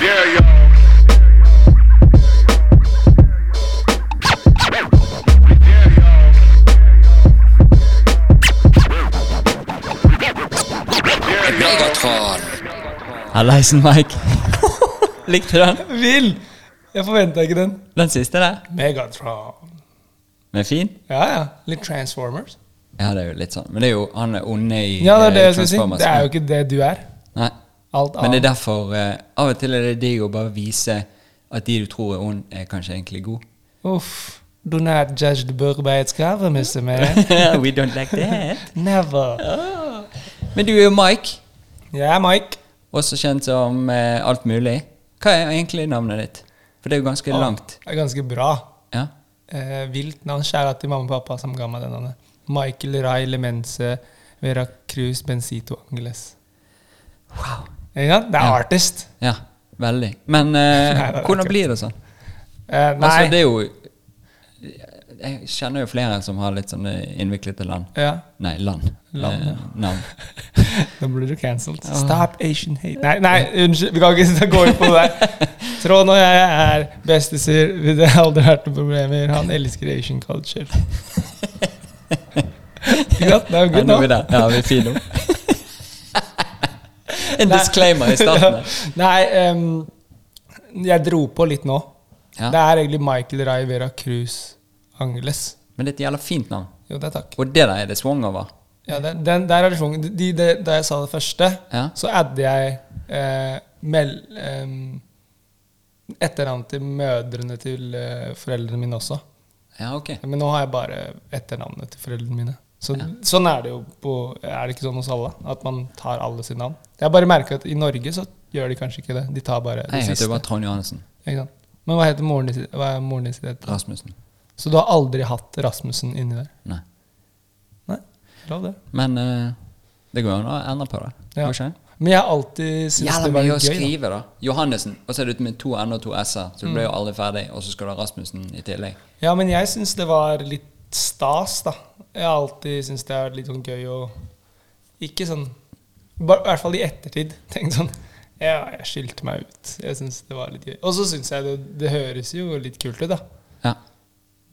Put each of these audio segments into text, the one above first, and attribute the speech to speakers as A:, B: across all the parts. A: Yeah, yo.
B: Megatron.
C: Hallaisen, Mike. Likte du den?
D: Vill! Jeg forventa ikke den.
C: Den siste der?
D: Megatron.
C: Men fin?
D: Ja, ja. Litt Transformers.
C: Ja, det er jo litt sånn. Men det er jo han er onde i
D: Ja, det er det
C: eh,
D: jeg skulle si.
C: Transformers.
D: Det er jo ikke det du er.
C: Nei.
D: Alt
C: Men det er
D: annet.
C: derfor eh, Av og til er det digg å bare vise at de du tror er ond, er kanskje egentlig god.
D: Uff. Do not judge the book by its cover, Mr. Man.
C: We don't like that.
D: Never.
C: Men du er jo Mike,
D: Jeg er Mike.
C: også kjent som eh, alt mulig. Hva er egentlig navnet ditt? For det er jo
D: Ah.
C: ganske langt.
D: Det er ganske bra.
C: Ja.
D: Eh, vilt navn. Kjære til mamma og pappa som ga meg det navnet. Michael Ray Lemense Vera Cruz Bencito Angeles.
C: Wow.
D: Ikke sant? Det er
C: Ja.
D: artist.
C: Ja, veldig. Men eh,
D: Nei, det er
C: hvordan
D: ikke.
C: blir det sånn?
D: Eh, nei.
C: Altså, det er jo Jeg kjenner jo flere som har litt sånne innviklete land.
D: ja.
C: Nei, land.
D: Land,
C: Eh, navn.
D: Da blir du cancelled.
C: Ah.
D: Stop Asian hate. Nei, nei, unnskyld. Vi kan ikke gå inn på det der. Trond og jeg er bestiser. Det har aldri vært noen problemer. Han elsker Asian culture. Ikke sant? Det er jo
C: Ja,
D: good
C: nå er vi
D: nå.
C: der. Ja, vi er fine nå. En disclaimer i starten. der.
D: Nei, em, jeg dro på litt nå.
C: Ja.
D: Det er egentlig Michael Ray Vera Cruz Angeles.
C: Men det er et jævla fint navn.
D: Jo, det er takk.
C: Og det der er det swung over.
D: Ja, den, den, der er det svung. De, de, da jeg sa det første,
C: Ja.
D: så adde jeg eh, mel, em, etternavn til mødrene til eh, foreldrene mine også.
C: Ja, ok.
D: Men nå har jeg bare etternavnet til foreldrene mine. Så, Sånn er det jo på Er det ikke sånn hos alle? At man tar alle sine navn? Jeg bare merker at i Norge så gjør de kanskje ikke det. De tar bare
C: Nei,
D: det
C: jeg heter
D: siste.
C: jo bare Trond Johannessen.
D: Ikke sant? Men hva heter moren din sin- hva er moren din sin het?
C: Rasmussen.
D: Så du har aldri hatt Rasmussen inni der?
C: Nei.
D: Nei, lov det.
C: Men eh, det går jo an å endre på det.
D: Ja.
C: Går ikke det?
D: Men jeg har alltid syntes
C: Jævla
D: det var
C: mye å
D: gøy. Da.
C: skrive, da. Johannessen, og så er det ut med to n og to s-er. Så du
D: Mm.
C: blir jo aldri ferdig, og så skal du ha Rasmussen i tillegg.
D: Ja, men jeg syns det var litt stas, da. Jeg har alltid syntes det har vært litt sånn gøy å Ikke sånn ba- I hvert fall i ettertid. Tenkt sånn Ja, jeg skilte meg ut. Jeg syns det var litt gøy. Og så syns jeg det, det høres jo litt kult ut, da.
C: Ja.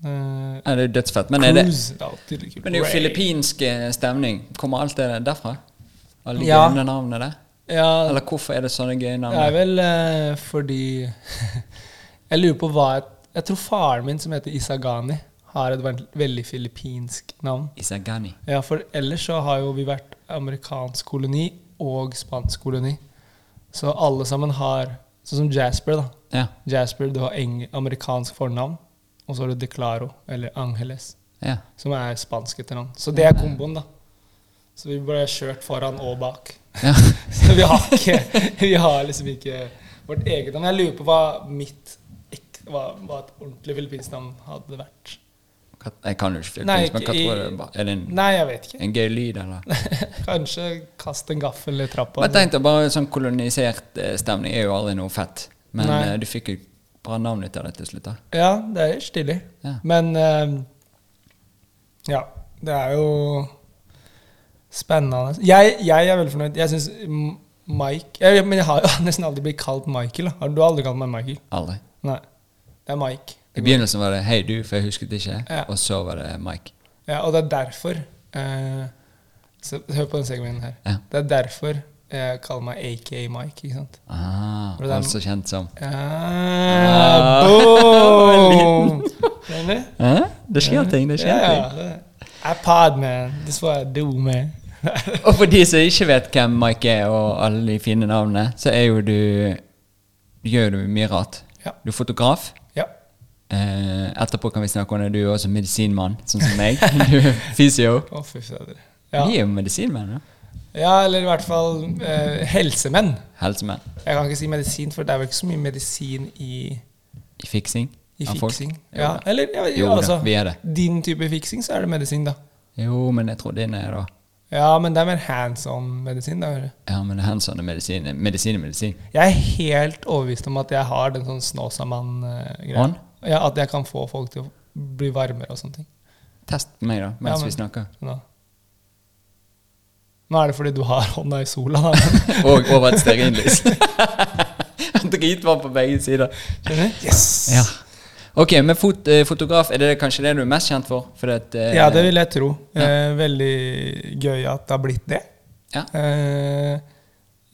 D: Eh,
C: Ja, det er jo dødsfett. Men er det,
D: Cruise det er alltid litt kult.
C: men det er jo
D: Ray.
C: filippinsk eh, stemning. Kommer alt det derfra? Alle de
D: Ja.
C: gøyne navnene der?
D: Ja,
C: Eller hvorfor er det sånne gøye navn?
D: Det er vel eh, fordi Jeg lurer på hva jeg, jeg tror faren min, som heter Isagani, har et vel- veldig filippinsk navn.
C: Isagani.
D: Ja, For ellers så har jo vi vært amerikansk koloni og spansk koloni. Så alle sammen har Sånn som Jasper, da.
C: Ja.
D: Jasper, du har eng amerikansk fornavn, og så har du Declaro, eller Angeles,
C: ja.
D: som er spansk etternavn. Så det er
C: Mm.
D: komboen, da. Så vi ble kjørt foran og bak.
C: ja.
D: Så vi har, ikke, vi har liksom ikke vårt eget navn. Jeg lurer på hva mitt ek- hva, hva et ordentlig filippinsk navn hadde vært.
C: Hva- Jeg kan jo ikke
D: Nei,
C: filippinsk, men hva
D: ikke i-
C: tror du? det var? Er det en,
D: Nei, jeg vet ikke.
C: en gøy lyd, eller?
D: Kanskje kast en gaffel i trappa.
C: Men tenk deg bare sånn kolonisert eh, stemning er jo aldri noe fett. Men
D: Nei.
C: eh, du fikk jo bra navn ut av det til slutt, da.
D: Ja, det er helt stilig.
C: Ja.
D: Men eh, ja, det er jo spennende. Jeg, jeg er veldig fornøyd. Jeg syns Mike jeg, Men jeg har jo nesten aldri blitt kalt Michael. Da. Har Du har aldri kalt meg Michael?
C: Aldri.
D: Nei. Det er Mike.
C: I begynnelsen var det 'hei, du', for jeg husket ikke.
D: Ja.
C: Og så var det Mike.
D: Ja, og det er derfor eh, så, Hør på den segmenten her.
C: Ja.
D: Det er derfor jeg kaller meg AKA Mike, ikke sant? Eh,
C: Ah,
D: For det er-
C: altså kjent som
D: Ah, boom! Skjønner du?
C: Hæ? Det skjer ting, det skjer
D: Ja,
C: ting.
D: det- I pod, man. This is what I do, man.
C: Og for de som ikke vet hvem Mike er, og alle de fine navnene, så er jo du Du gjør jo mye rart.
D: Ja.
C: Du er fotograf.
D: ja.
C: Eh, etterpå kan vi snakke om det. Du er også medisinmann, sånn som meg. Du er fysio.
D: Å, fy fader. Ja.
C: Vi er jo medisinmenn, da.
D: ja, eller i hvert fall eh, helsemenn.
C: Helsemenn.
D: Jeg kan ikke si medisin, for det er vel ikke så mye medisin i
C: I fiksing.
D: i
C: av folk.
D: fiksing.
C: Jo
D: Ja,
C: da.
D: eller ja,
C: Jo da,
D: altså,
C: vi er det.
D: Din type fiksing, så er det medisin, da.
C: Jo, men jeg tror din er da
D: Ja, men det er mer hands on-medisin. da, hører du.
C: Ja, men hands on er medisin. Medisin er medisin.
D: Jeg er helt overbevist om at jeg har den sånn Snåsamann-greia.
C: On?
D: Ja, at jeg kan få folk til å bli varmere og sånne ting.
C: Test meg, da, mens
D: Ja, men-
C: vi snakker.
D: Nå. Nå er det fordi du har hånda i sola. Da.
C: Og over et stearinlys. Dritvarm på begge sider.
D: Skjønner du? Yes!
C: Ja. Ok, men fot, eh, fotograf, er det kanskje det du er mest kjent for? Fordi at, eh,
D: Ja, det vil jeg tro. Eh, veldig gøy at det har blitt det.
C: Ja.
D: Eh,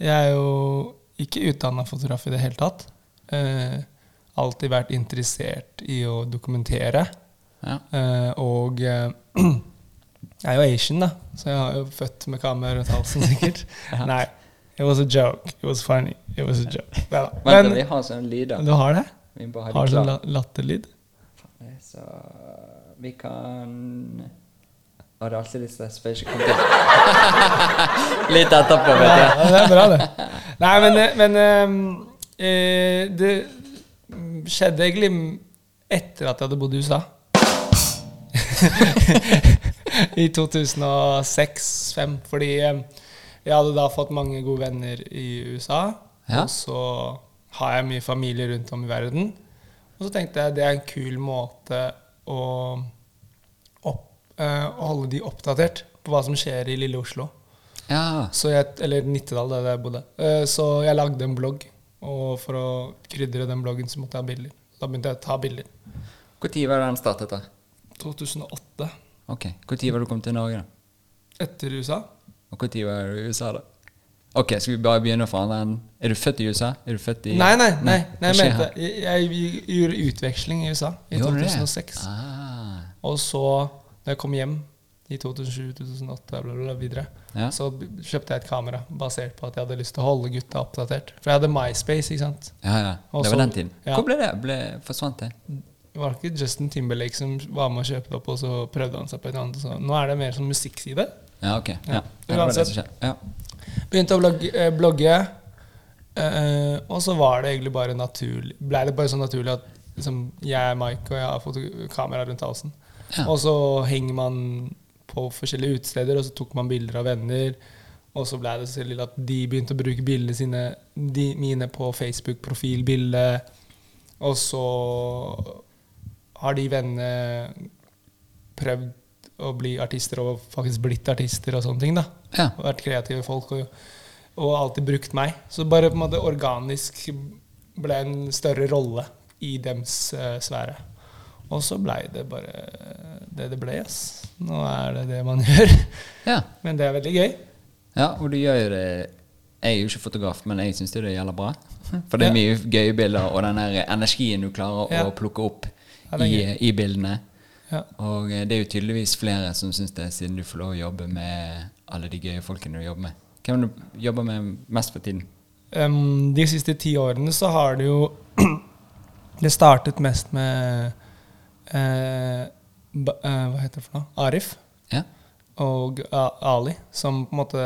D: jeg er jo ikke utdanna fotograf i det hele tatt. Eh, alltid vært interessert i å dokumentere.
C: Ja.
D: Eh, og eh, jeg er jo Asian, da, så jeg har jo født med kamera rundt halsen, sikkert. Nei. It was a joke. It was funny. It was a joke. Ja, da.
C: Vent, vi har sånn lyder.
D: du har det?
C: Vi bare har
D: Har
C: det
D: du sånn
C: klart.
D: la- latterlyd?
C: Så vi kan Å, det er alltid litt stress, for jeg ikke kom til Litt etterpå, vet
D: Ja,
C: jeg.
D: det er bra, det. Nei, men, eh, men eh, eh, det skjedde egentlig etter at jeg hadde bodd i USA. I 2006-2005. Fordi eh, jeg hadde da fått mange gode venner i USA.
C: Ja.
D: Og så har jeg mye familie rundt om i verden. Og så tenkte jeg det er en kul måte å opp, eh, å holde de oppdatert på hva som skjer i lille Oslo.
C: Ja.
D: Så jeg, eller Nittedal, det er der jeg bodde. Eh, Så jeg lagde en blogg, og for å krydre den bloggen så måtte jeg ha bilder. Da begynte jeg å ta bilder.
C: Når var det den startet, da?
D: 2008,
C: Ok, Når var du kom til Norge, da?
D: etter USA.
C: Og når var du i USA, da? Ok, Skal vi bare begynne fra andre enden? Er du født i USA? Er du født i
D: Nei, nei, nei,
C: hva
D: nei jeg
C: skjer
D: mente
C: her?
D: jeg, jeg gjorde utveksling i USA i
C: Gjorde du det?
D: 2006.
C: Ah,
D: Og så, da jeg kom hjem i 2007-2008, bla, bla, bla, videre,
C: Ja.
D: så b- kjøpte jeg et kamera basert på at jeg hadde lyst til å holde gutta oppdatert. For jeg hadde MySpace, ikke sant.
C: ja, ja.
D: Og
C: Det
D: så-
C: var den tiden.
D: ja.
C: Hvor ble det? Ble, forsvant det?
D: Det var ikke Justin Timberlake som var med å kjøpe det opp, og så prøvde han seg på et annet. Så nå er det mer sånn musikkside.
C: Ja, ok. Ja.
D: Ja.
C: Det var det
D: Uansett.
C: som skjedde. Ja.
D: Begynte å blogge, eh, blogge eh, og så var det egentlig bare naturlig Ble det bare så naturlig at liksom, jeg er Mike, og jeg har foto- kamera rundt halsen.
C: Ja.
D: Og så henger man på forskjellige utesteder, og så tok man bilder av venner. Og så ble det så lille at de begynte å bruke bildene sine, de, mine på Facebook-profilbildet. Og så har de vennene prøvd å bli artister, og faktisk blitt artister og sånne ting. da
C: Ja.
D: og vært kreative folk og, og alltid brukt meg. Så bare på en måte organisk ble en større rolle i dems eh, sfære. Og så blei det bare eh, det det ble. Ass. Nå er det det man gjør.
C: ja.
D: Men det er veldig gøy.
C: Ja, og du gjør jo det Jeg er jo ikke fotograf, men jeg syns det gjelder bra. For det er
D: Ja.
C: mye gøye bilder, og den der energien du klarer
D: Ja.
C: å plukke opp
D: Ja, det er
C: i, i bildene.
D: Ja.
C: Og eh, det er jo tydeligvis flere som syns det, siden du får lov å jobbe med alle de gøye folkene du jobber med. Hvem er det du jobber med mest for tiden?
D: Em, de siste ti årene så har det jo Det startet mest med eh, ba, eh, Hva heter det for noe? Arif.
C: Ja?
D: og A- Ali, som på en måte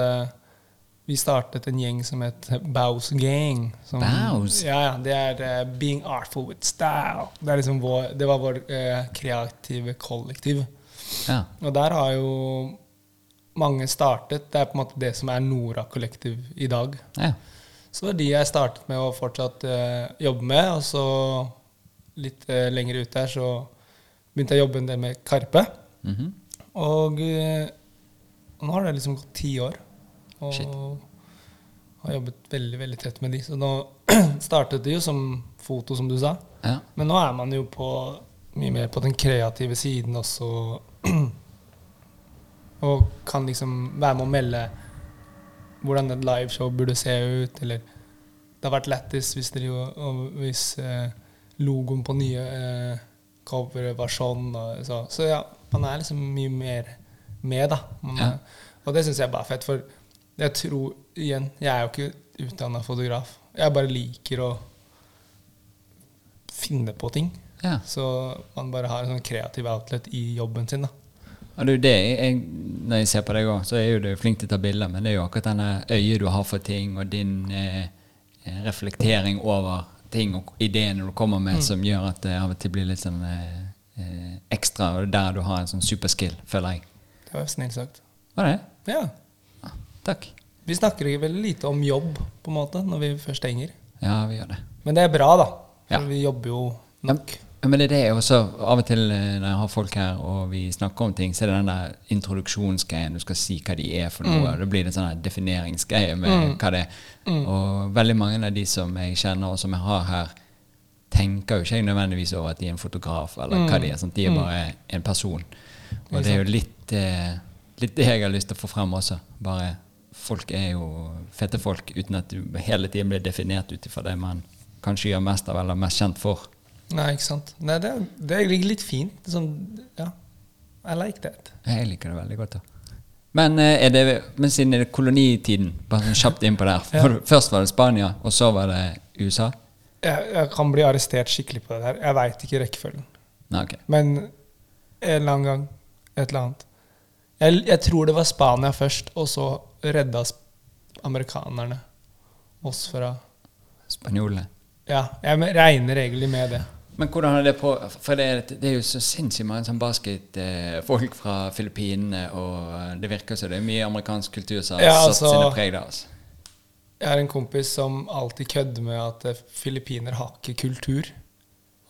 D: Vi startet en gjeng som het Bows Gang. Som,
C: Bows?
D: Ja, ja, det er eh, Being Artful With Style. Det, er liksom vår, det var vår eh, kreative kollektiv.
C: ja.
D: Og der har jo mange startet. Det er på en måte det som er Nora kollektiv i dag.
C: ja.
D: Så det var de jeg startet med å fortsatt eh, jobbe med. Og så litt eh, lenger ut der så begynte jeg å jobbe en del med Karpe.
C: Mhm.
D: Og eh, nå har det liksom gått ti år. Og
C: Shit.
D: har jobbet veldig veldig tett med de. Så nå startet det jo som foto, som du sa.
C: ja.
D: Men nå er man jo på mye mer på den kreative siden også. og kan liksom være med å melde hvordan et liveshow burde se ut, eller Det har vært lættis hvis, dere jo- og hvis eh, logoen på nye eh, coveret var sånn. Og så. så ja, man er liksom mye mer med, da. Man
C: Ja.
D: er, og det syns jeg bare er fett, for jeg tror igjen Jeg er jo ikke utdanna fotograf. Jeg bare liker å finne på ting.
C: ja.
D: Så man bare har en sånn kreativ outlet i jobben sin, da.
C: Og det er jo det jeg, jeg, når jeg ser på deg òg, så er jo du flink til å ta bilder, men det er jo akkurat denne øyet du har for ting, og din eh, eh, reflektering over ting og ideene du kommer med, som gjør at det av og til blir litt sånn eh, eh, ekstra, og det er der du har en sånn superskill, føler jeg.
D: Det var snilt sagt.
C: Var det?
D: Ja.
C: Ja, takk.
D: Vi snakker ikke veldig lite om jobb, på en måte, når vi først henger.
C: Ja, vi gjør det.
D: Men det er bra, da. For
C: Ja.
D: vi jobber jo nok.
C: Ja, men det er det jeg også Av og til eh, når jeg har folk her og vi snakker om ting, så er det den der introduksjonsgreien. Du skal si hva de er for noe. og Da blir det sånn her defineringsgreie med hva det er. Og veldig mange av de som jeg kjenner og som jeg har her, tenker jo ikke jeg nødvendigvis over at de er en fotograf eller hva de er. Sant? De er bare en person. Og det er jo litt, eh, litt det jeg har lyst til å få frem også. Bare folk er jo fete folk uten at du hele tiden blir definert ut ifra det man kanskje gjør mest av eller mest kjent for.
D: Nei, ikke sant. Nei, det, er- det ligger litt fint. Sånn, ja. I like that.
C: Jeg liker det veldig godt. da. Men, eh, er det, men siden er det kolonitiden, bare sånn kjapt innpå der. For, Først var det Spania, og så var det USA.
D: Jeg, jeg kan bli arrestert skikkelig på det der. Jeg veit ikke rekkefølgen.
C: Nei, ok.
D: Men en eller annen gang et eller annet. Jeg, jeg tror det var Spania først, og så redda sp- amerikanerne oss fra
C: Spanjolene.
D: Ja, jeg me- regner egentlig med det.
C: Men hvordan er det på For det, er- det er jo så sinnssykt mange sånn basketfolk fra Filippinene, og eh, det virker som det er mye amerikansk kultur som har
D: Ja,
C: satt
D: altså-
C: sine preg der. Altså.
D: Jeg har en kompis som alltid kødder med at eh, filippiner har ikke kultur.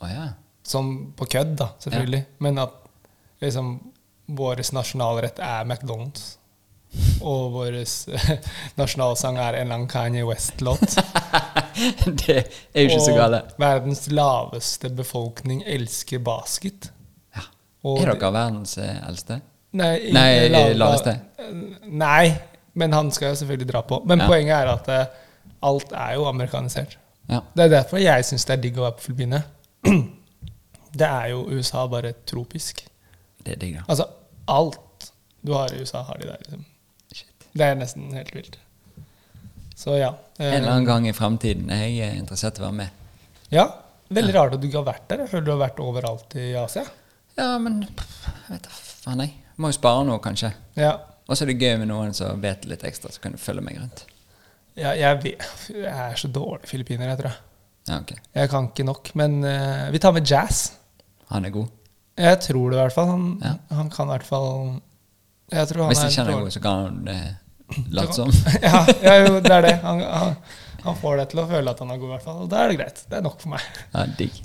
C: Å ja.
D: Som på kødd, da, selvfølgelig. Men at liksom vår nasjonalrett er McDonald's. Og vår nasjonalsang er en lang Kanye West-låt.
C: det er jo ikke så gale.
D: Og verdens laveste befolkning elsker basket.
C: Ja.
D: Og
C: Er dere verdens eh, eldste?
D: Nei,
C: Nei,
D: ikke la-
C: laveste.
D: Nei, men han skal jeg selvfølgelig dra på. Men
C: Ja.
D: poenget er at eh, alt er jo amerikanisert.
C: Ja.
D: Det er derfor jeg syns det er digg å være på Filippinene. Det er jo USA bare tropisk.
C: Det er digg, da.
D: Altså, alt du har i USA, har de der. Liksom.
C: Shit.
D: Det er nesten helt vilt. Så ja. eh,
C: En eller annen gang i fremtiden. Jeg er interessert i å være med.
D: Ja, Veldig rart at du ikke har vært der. Jeg føler du har vært overalt i Asia.
C: Ja, men pff, jeg vet da faen, jeg. Må jo spare noe, kanskje.
D: Ja,
C: Og så er det gøy med noen som vet litt ekstra, så kan du følge meg rundt.
D: ja jeg, vet- jeg er så dårlig filippiner, jeg tror jeg.
C: Ja, ok.
D: Jeg kan ikke nok. Men eh, vi tar med jazz.
C: Han er god.
D: Jeg tror det i hvert fall. Han,
C: Ja.
D: han kan i hvert fall Jeg tror han
C: Hvis
D: er
C: ikke han er
D: dårlig.
C: god, så kan han eh, late som.
D: ja, ja, jo, det er det. Han, han, han får deg til å føle at han er god, i hvert fall. Og da er det greit. Det er nok for meg.
C: Ja, digg.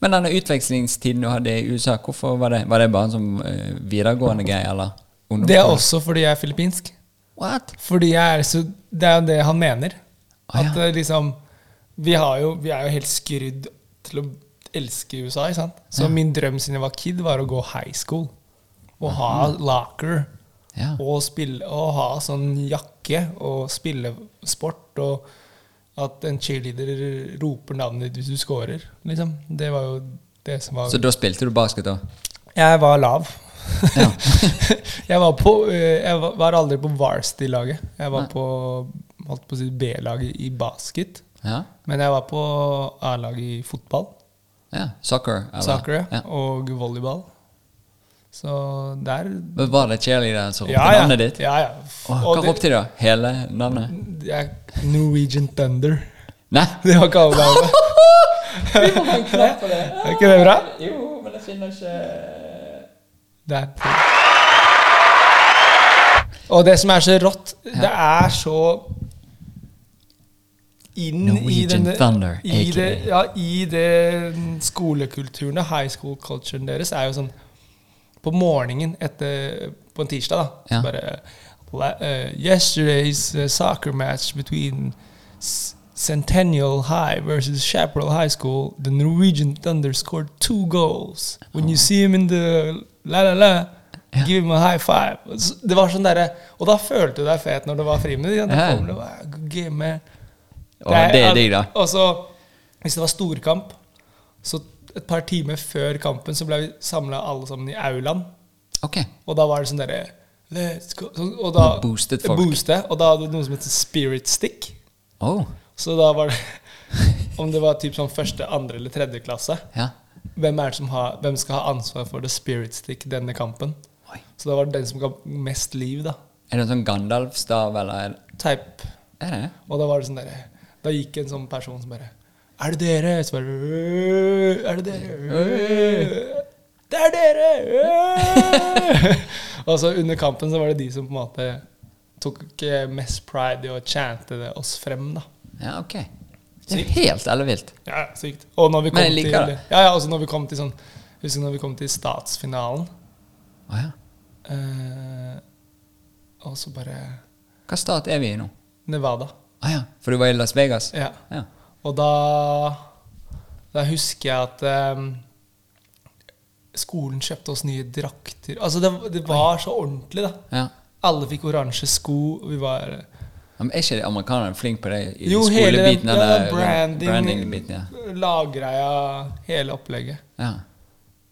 C: Men denne utvekslingstiden du hadde i USA, hvorfor var det? Var det bare en sånn eh, videregående greie, eller? ungdomsskole?
D: Det er også fordi jeg er filippinsk.
C: What?
D: Fordi jeg er så Det er jo det han mener.
C: Ah, ja.
D: At eh, liksom vi, har jo, vi er jo helt skrudd til å elske USA, ikke sant? Så min drøm siden jeg var kid, var å gå high school. Og ha locker.
C: Ja.
D: Og, spille, og ha sånn jakke og spille sport. Og at en cheerleader roper navnet ditt hvis du scorer. Liksom. Det var jo det som var
C: Så da spilte du basket, da?
D: Jeg var lav.
C: Ja.
D: Jeg var, på, eh, jeg var- var aldri på varsity-laget. Jeg var
C: Nei.
D: på, holdt på å si B-laget i basket.
C: ja.
D: Men jeg var på A-laget i fotball,
C: ja. Soccer? Eller?
D: soccer, ja,
C: Ja.
D: og volleyball. Så der
C: Men Var det cheerleaderen som ropte
D: Ja, ja.
C: navnet ditt?
D: Ja, ja.
C: Åh,
D: Og
C: hva
D: det-
C: ropte de da? Hele navnet?
D: jeg- Norwegian Thunder.
C: Nei?
D: Det var ikke alle navnet.
C: Vi må ha en knapp på det.
D: Er ikke det bra?
C: Jo, men jeg finner ikke
D: Der. Og det som er så rått, det er så inn i,
C: Norwegian
D: denne,
C: Thunder,
D: i,
C: aka.
D: det, ja, i den skolekulturen, og high school culturen deres, er jo sånn på morgenen etter, på en tirsdag, da.
C: Ja.
D: Bare la- eh, Yesterday's eh, soccer match between S- Centennial High versus Chaparral High School. The Norwegian Thunder scored two goals. When you see him in the la la la,
C: Ja.
D: give him a high five. Så Det var sånn derre Og da følte du deg fet når det var friminutt. Ja. Da
C: Ja.
D: kom det bare, "Good game, man."
C: Å, det er digg, da.
D: Og så, hvis det var storkamp, så et par timer før kampen så ble vi samla alle sammen i aulaen.
C: Ok.
D: Og da var det sånn derre Let's go så, Og da
C: Da boostet folk.
D: Boostet, og da hadde du noe som heter spirit stick.
C: Oh,
D: Så da var det Om det var typ sånn første, andre eller tredje klasse
C: ja.
D: Hvem er det som har Hvem skal ha ansvar for the spirit stick denne kampen?
C: Oi.
D: Så da var det den som ga mest liv, da.
C: Er det en sånn Gandalf-stav, eller er det-
D: Type.
C: er det?
D: Og da var det sånn derre Da gikk en sånn person som bare Er det dere? Så bare «Øh, Er det dere? Øh, Det er dere! Øh!» og så under kampen så var det de som på en måte tok eh, mest pride i å chante det oss frem, da.
C: Ja, ok. Det er helt ellevilt.
D: Ja, ja, sykt. Og når vi kom
C: Men jeg liker
D: til,
C: det.
D: Ja, ja, også når vi kom til sånn Husker du når vi kom til statsfinalen,
C: Å ja.
D: eh, og så bare
C: Hva stat er vi i nå?
D: Nevada.
C: Å ja. For du var i Las Vegas?
D: Ja.
C: Ja.
D: Og da Da husker jeg at eh, skolen kjøpte oss nye drakter. Altså, det, det var så ordentlig, da.
C: ja.
D: Alle fikk oransje sko. og Vi var
C: Ja, Men er ikke amerikanerne flinke på det i
D: Jo, hele den
C: skolebiten?
D: ja,
C: eller
D: branding,
C: branding-biten, ja.
D: laggreia, hele opplegget.
C: ja.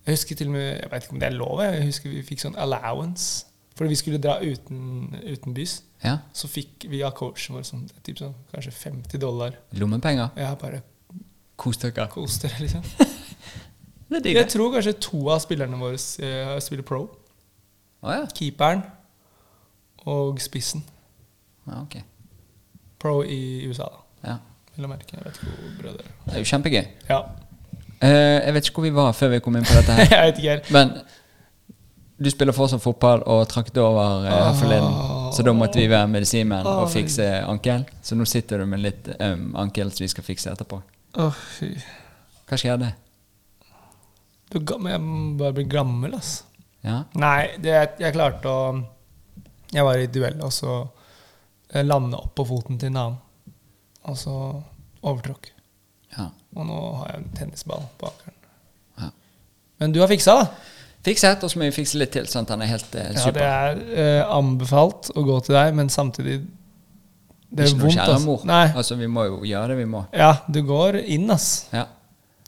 D: Jeg husker til og med, jeg vet ikke om det er lov, jeg husker vi fikk sånn allowance. Fordi vi skulle dra uten, utenbys.
C: ja.
D: Så fikk vi av coachen vår sånn, typ sånn, kanskje 50 dollar.
C: Lommepenger?
D: Jeg har bare
C: Kos dere.
D: kost dere, liksom.
C: Det er digg,
D: Jeg
C: det.
D: tror kanskje to av spillerne våre eh, spiller pro.
C: Å ja.
D: Keeperen og spissen.
C: ja. Ok.
D: Pro i USA, da.
C: Ja.
D: Vil jeg merke. Jeg vet ikke hvor brødre
C: Det er jo kjempegøy.
D: Ja.
C: Eh, jeg vet ikke hvor vi var før vi kom inn på dette
D: jeg
C: her.
D: vet ikke helt.
C: Men du spiller fortsatt fotball og trakk det over eh,
D: Ah.
C: her forleden. Så da måtte vi være medisinmenn og fikse ankel. Så nå sitter du med litt øm ankel som vi skal fikse etterpå.
D: Å, fy.
C: Hva skjedde?
D: Du er gammel. Jeg må bare blir gammel, ass.
C: Ja?
D: Nei, det, jeg klarte å Jeg var i duell, og så eh, lande opp på foten til en annen. Og så overtråkk.
C: ja.
D: Og nå har jeg en tennisball på akeren.
C: Ja.
D: Men du har fiksa, da.
C: Fikset, og så må vi fikse litt til, sånn at han er helt eh,
D: Ja, det
C: super.
D: er eh, anbefalt å gå til deg, men samtidig Det er
C: ikke noe
D: vondt,
C: kjære
D: ass.
C: mor.
D: Nei.
C: Altså, vi må jo gjøre det vi må.
D: Ja, du går inn, ass.
C: Ja.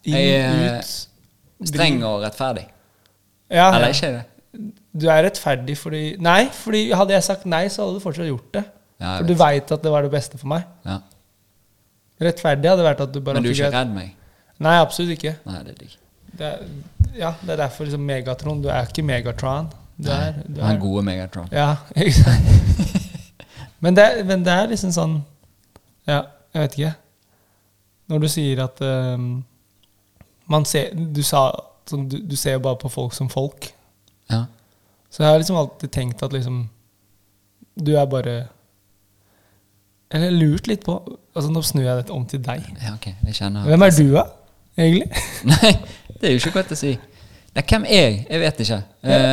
D: Inn,
C: Jeg eh, er
D: ut.
C: streng og rettferdig.
D: Ah, Ja, ja.
C: Eller ikke det?
D: Du er rettferdig fordi Nei, fordi hadde jeg sagt nei, så hadde du fortsatt gjort det.
C: Ja, jeg
D: for du veit at det var det beste for meg.
C: Ja.
D: Rettferdig hadde vært at du bare
C: Men du er
D: fikk
C: ikke
D: et-
C: redd meg?
D: Nei, absolutt ikke.
C: Nei, det er digg.
D: Det er, ja, det er derfor liksom Megatron Du er ikke Megatron. Du er, du
C: Han
D: er
C: gode Megatron.
D: Ja, ikke sant? men, det, er- men det er liksom sånn Ja, jeg vet ikke. Når du sier at ehm, man ser, Du sa sånn, du, du ser jo bare på folk som folk.
C: Ja.
D: Så jeg har liksom alltid tenkt at liksom Du er bare Eller lurt litt på Altså, nå snur jeg dette om til deg.
C: ja, ok. Jeg kjenner
D: Hvem er du, da? Egentlig?
C: Nei, det er jo ikke godt å si. Nei, hvem er jeg? Jeg vet ikke. Eh,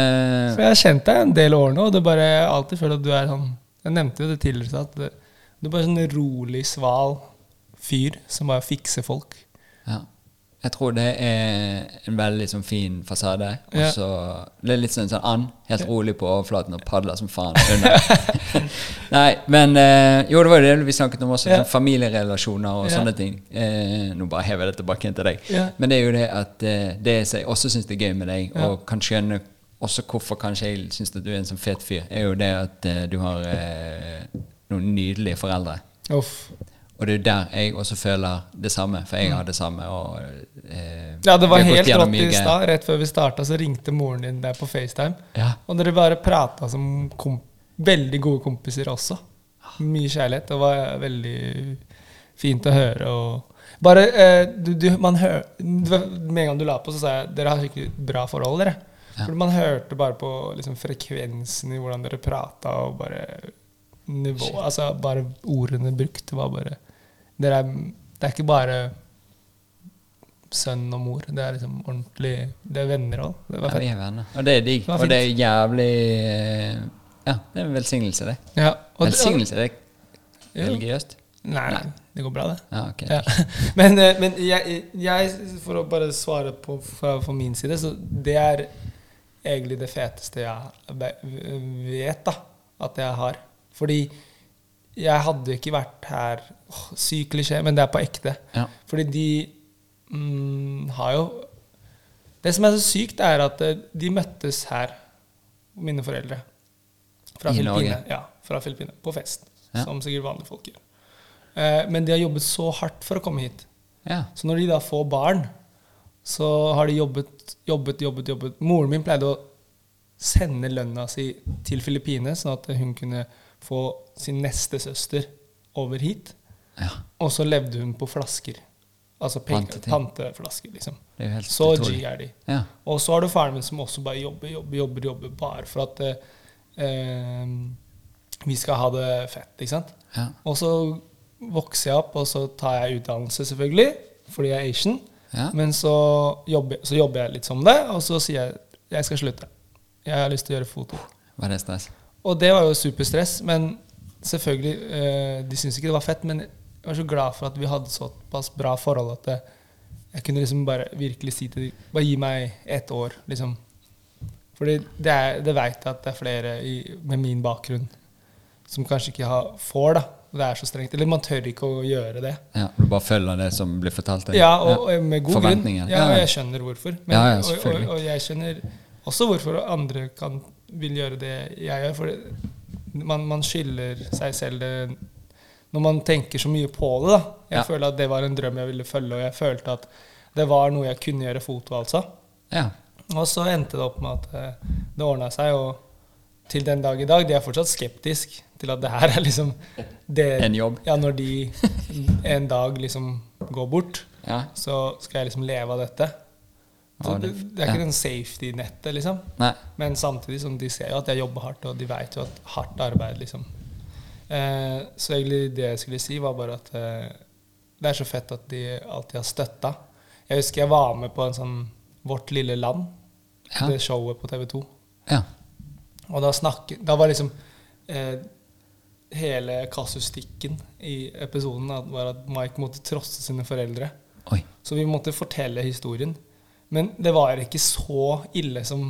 D: For jeg har kjent deg en del år nå, og det bare jeg har alltid føler at du er sånn Jeg nevnte jo det tidligere, at det- du er bare sånn rolig, sval fyr som bare fikser folk.
C: ja. Jeg tror det er en veldig sånn fin fasade. Og
D: Ja.
C: så det er litt sånn sånn and. Helt rolig på overflaten og padler som faen under. Nei, men eh, Jo, det var jo det vi snakket om også.
D: Ja.
C: Sånn familierelasjoner og
D: Ja.
C: sånne ting. Eh, nå bare hever jeg det tilbake igjen til deg.
D: Ja.
C: Men det er jo det at eh, det som jeg også syns er gøy med deg,
D: Ja.
C: og kan skjønne også hvorfor kanskje jeg syns at du er en sånn fet fyr, er jo det at eh, du har eh, noen nydelige foreldre.
D: Uff.
C: Og det er jo der jeg også føler det samme, for jeg har det samme. Og, eh,
D: Mm. Ja, det var
C: vi har gått
D: helt
C: gjennom
D: rått
C: mye
D: i
C: greier.
D: stad. Rett før vi starta, så ringte moren din deg på FaceTime.
C: Ja.
D: Og dere bare prata som kom veldig gode kompiser også. Mye kjærlighet. Det var veldig fint å høre. og bare, eh, du, du, man hør, det var- Med en gang du la på, så sa jeg dere har skikkelig bra forhold. dere. For man hørte bare på liksom, frekvensen i hvordan dere prata, og bare nivå, altså bare ordene brukt. var bare, dere er, Det er ikke bare sønn og mor. Det er liksom ordentlig Det er venner òg. Det var
C: Ja, vi
D: fett.
C: er venner. Og det er digg.
D: var
C: Og det er jævlig eh, Ja, det er en velsignelse, det.
D: Ja, og-
C: Velsignelse, det er
D: Ja.
C: religiøst.
D: Nei,
C: Nei.
D: det går bra, det.
C: Ja, ok.
D: Ja. Men, eh, men jeg, jeg, for å bare svare på fra, fra min side, så det er egentlig det feteste jeg ve- vet da, at jeg har. Fordi jeg hadde ikke vært her åh, Syk klisjé, men det er på ekte.
C: Ja.
D: Fordi de mm, har jo Det som er så sykt, er at eh, de møttes her, mine foreldre. Fra
C: I
D: Filippinene.
C: Norge?
D: Ja, fra Filippinene. På fest.
C: Ja.
D: Som sikkert vanlige folk gjør. Eh, Men de har jobbet så hardt for å komme hit.
C: Ja.
D: Så når de da får barn, så har de jobbet, jobbet, jobbet. jobbet. Moren min pleide å sende lønna si til Filippinene, sånn at hun kunne få sin neste søster over hit.
C: ja.
D: Og så levde hun på flasker. Altså penger,
C: Panteting.
D: panteflasker, liksom.
C: Det er jo helt
D: Så
C: utrolig.
D: G er de.
C: Ja.
D: Og så har du faren min som også bare jobber, jobber, jobber, jobber bare for at eh, eh, vi skal ha det fett, ikke sant?
C: Ja.
D: Og så vokser jeg opp, og så tar jeg utdannelse, selvfølgelig, fordi jeg er Asian.
C: Ja.
D: Men så jobber, så jobber jeg litt som det, og så sier jeg jeg skal slutte. Jeg har lyst til å gjøre foto.
C: Var det stress?
D: Og det var jo superstress, men selvfølgelig eh, De syntes ikke det var fett, men jeg var så glad for at vi hadde såpass bra forhold at det, jeg kunne liksom bare virkelig si til dem Bare gi meg ett år, liksom. Fordi det, er, det veit jeg at det er flere i, med min bakgrunn som kanskje ikke har, får, da. Det er så strengt. Eller man tør ikke å gjøre det.
C: Ja, du bare følger det som blir fortalt deg?
D: Ja, og, og med god grunn.
C: Forventninger.
D: Ja,
C: Ja,
D: og
C: ja.
D: jeg skjønner hvorfor.
C: Ja, ja,
D: og, og,
C: selvfølgelig.
D: og jeg skjønner også hvorfor andre kan, vil gjøre det jeg gjør. For det, man, man skylder seg selv det når man tenker så mye på det. da. Jeg
C: Ja.
D: føler at det var en drøm jeg ville følge, og jeg følte at det var noe jeg kunne gjøre foto, altså.
C: Ja.
D: Og så endte det opp med at eh, det ordna seg, og til den dag i dag De er fortsatt skeptisk til at det her er liksom det,
C: En jobb.
D: Ja, når de en dag liksom går bort
C: ja.
D: så skal jeg liksom leve av dette. Så
C: Ja,
D: det,
C: det-
D: det er ikke
C: ja.
D: den safety-nettet, liksom.
C: Nei.
D: Men samtidig som de ser jo at jeg jobber hardt, og de vet jo at hardt arbeid, liksom. Eh, så egentlig det jeg skulle si, var bare at eh, det er så fett at de alltid har støtta. Jeg husker jeg var med på en sånn Vårt lille land,
C: Ja.
D: det showet på TV 2.
C: Ja.
D: Og da snakket Da var liksom eh, Hele kasustikken i episoden at- var at Mike måtte trosse sine foreldre.
C: Oi.
D: Så vi måtte fortelle historien. Men det var ikke så ille som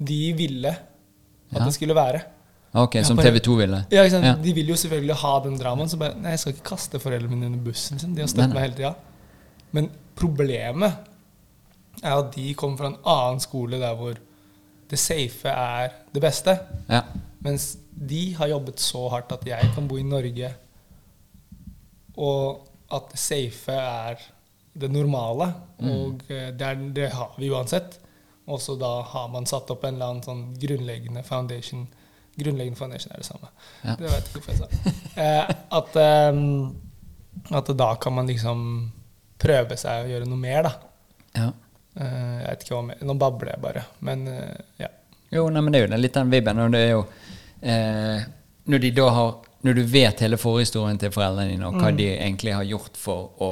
D: de ville at
C: Ja.
D: det skulle være.
C: Ok,
D: Ja,
C: som
D: bare-
C: TV 2 ville?
D: Ja, ikke sant?
C: Ja.
D: De vil jo selvfølgelig ha den dramaen. Så bare Nei, jeg skal ikke kaste foreldrene mine under bussen. Liksom. De har støttet
C: Nei,
D: meg hele tida. Men problemet er at de kommer fra en annen skole der hvor det safe er det beste.
C: Ja.
D: Mens de har jobbet så hardt at jeg kan bo i Norge, og at det safe er det normale. Og eh, det, er, det har vi uansett. Og så da har man satt opp en eller annen sånn grunnleggende foundation. Grunnleggende foundation er det samme.
C: Ja.
D: Det vet jeg ikke hvorfor jeg sa. Eh, at, eh, at da kan man liksom prøve seg å gjøre noe mer, da.
C: ja.
D: Eh, jeg vet ikke hva mer. Nå babler jeg bare. Men eh, ja.
C: Jo, nei, men det er jo den, litt den vibben. Og det er jo eh, Når de da har Når du vet hele forhistorien til foreldrene dine, og
D: Mm.
C: hva de egentlig har gjort for å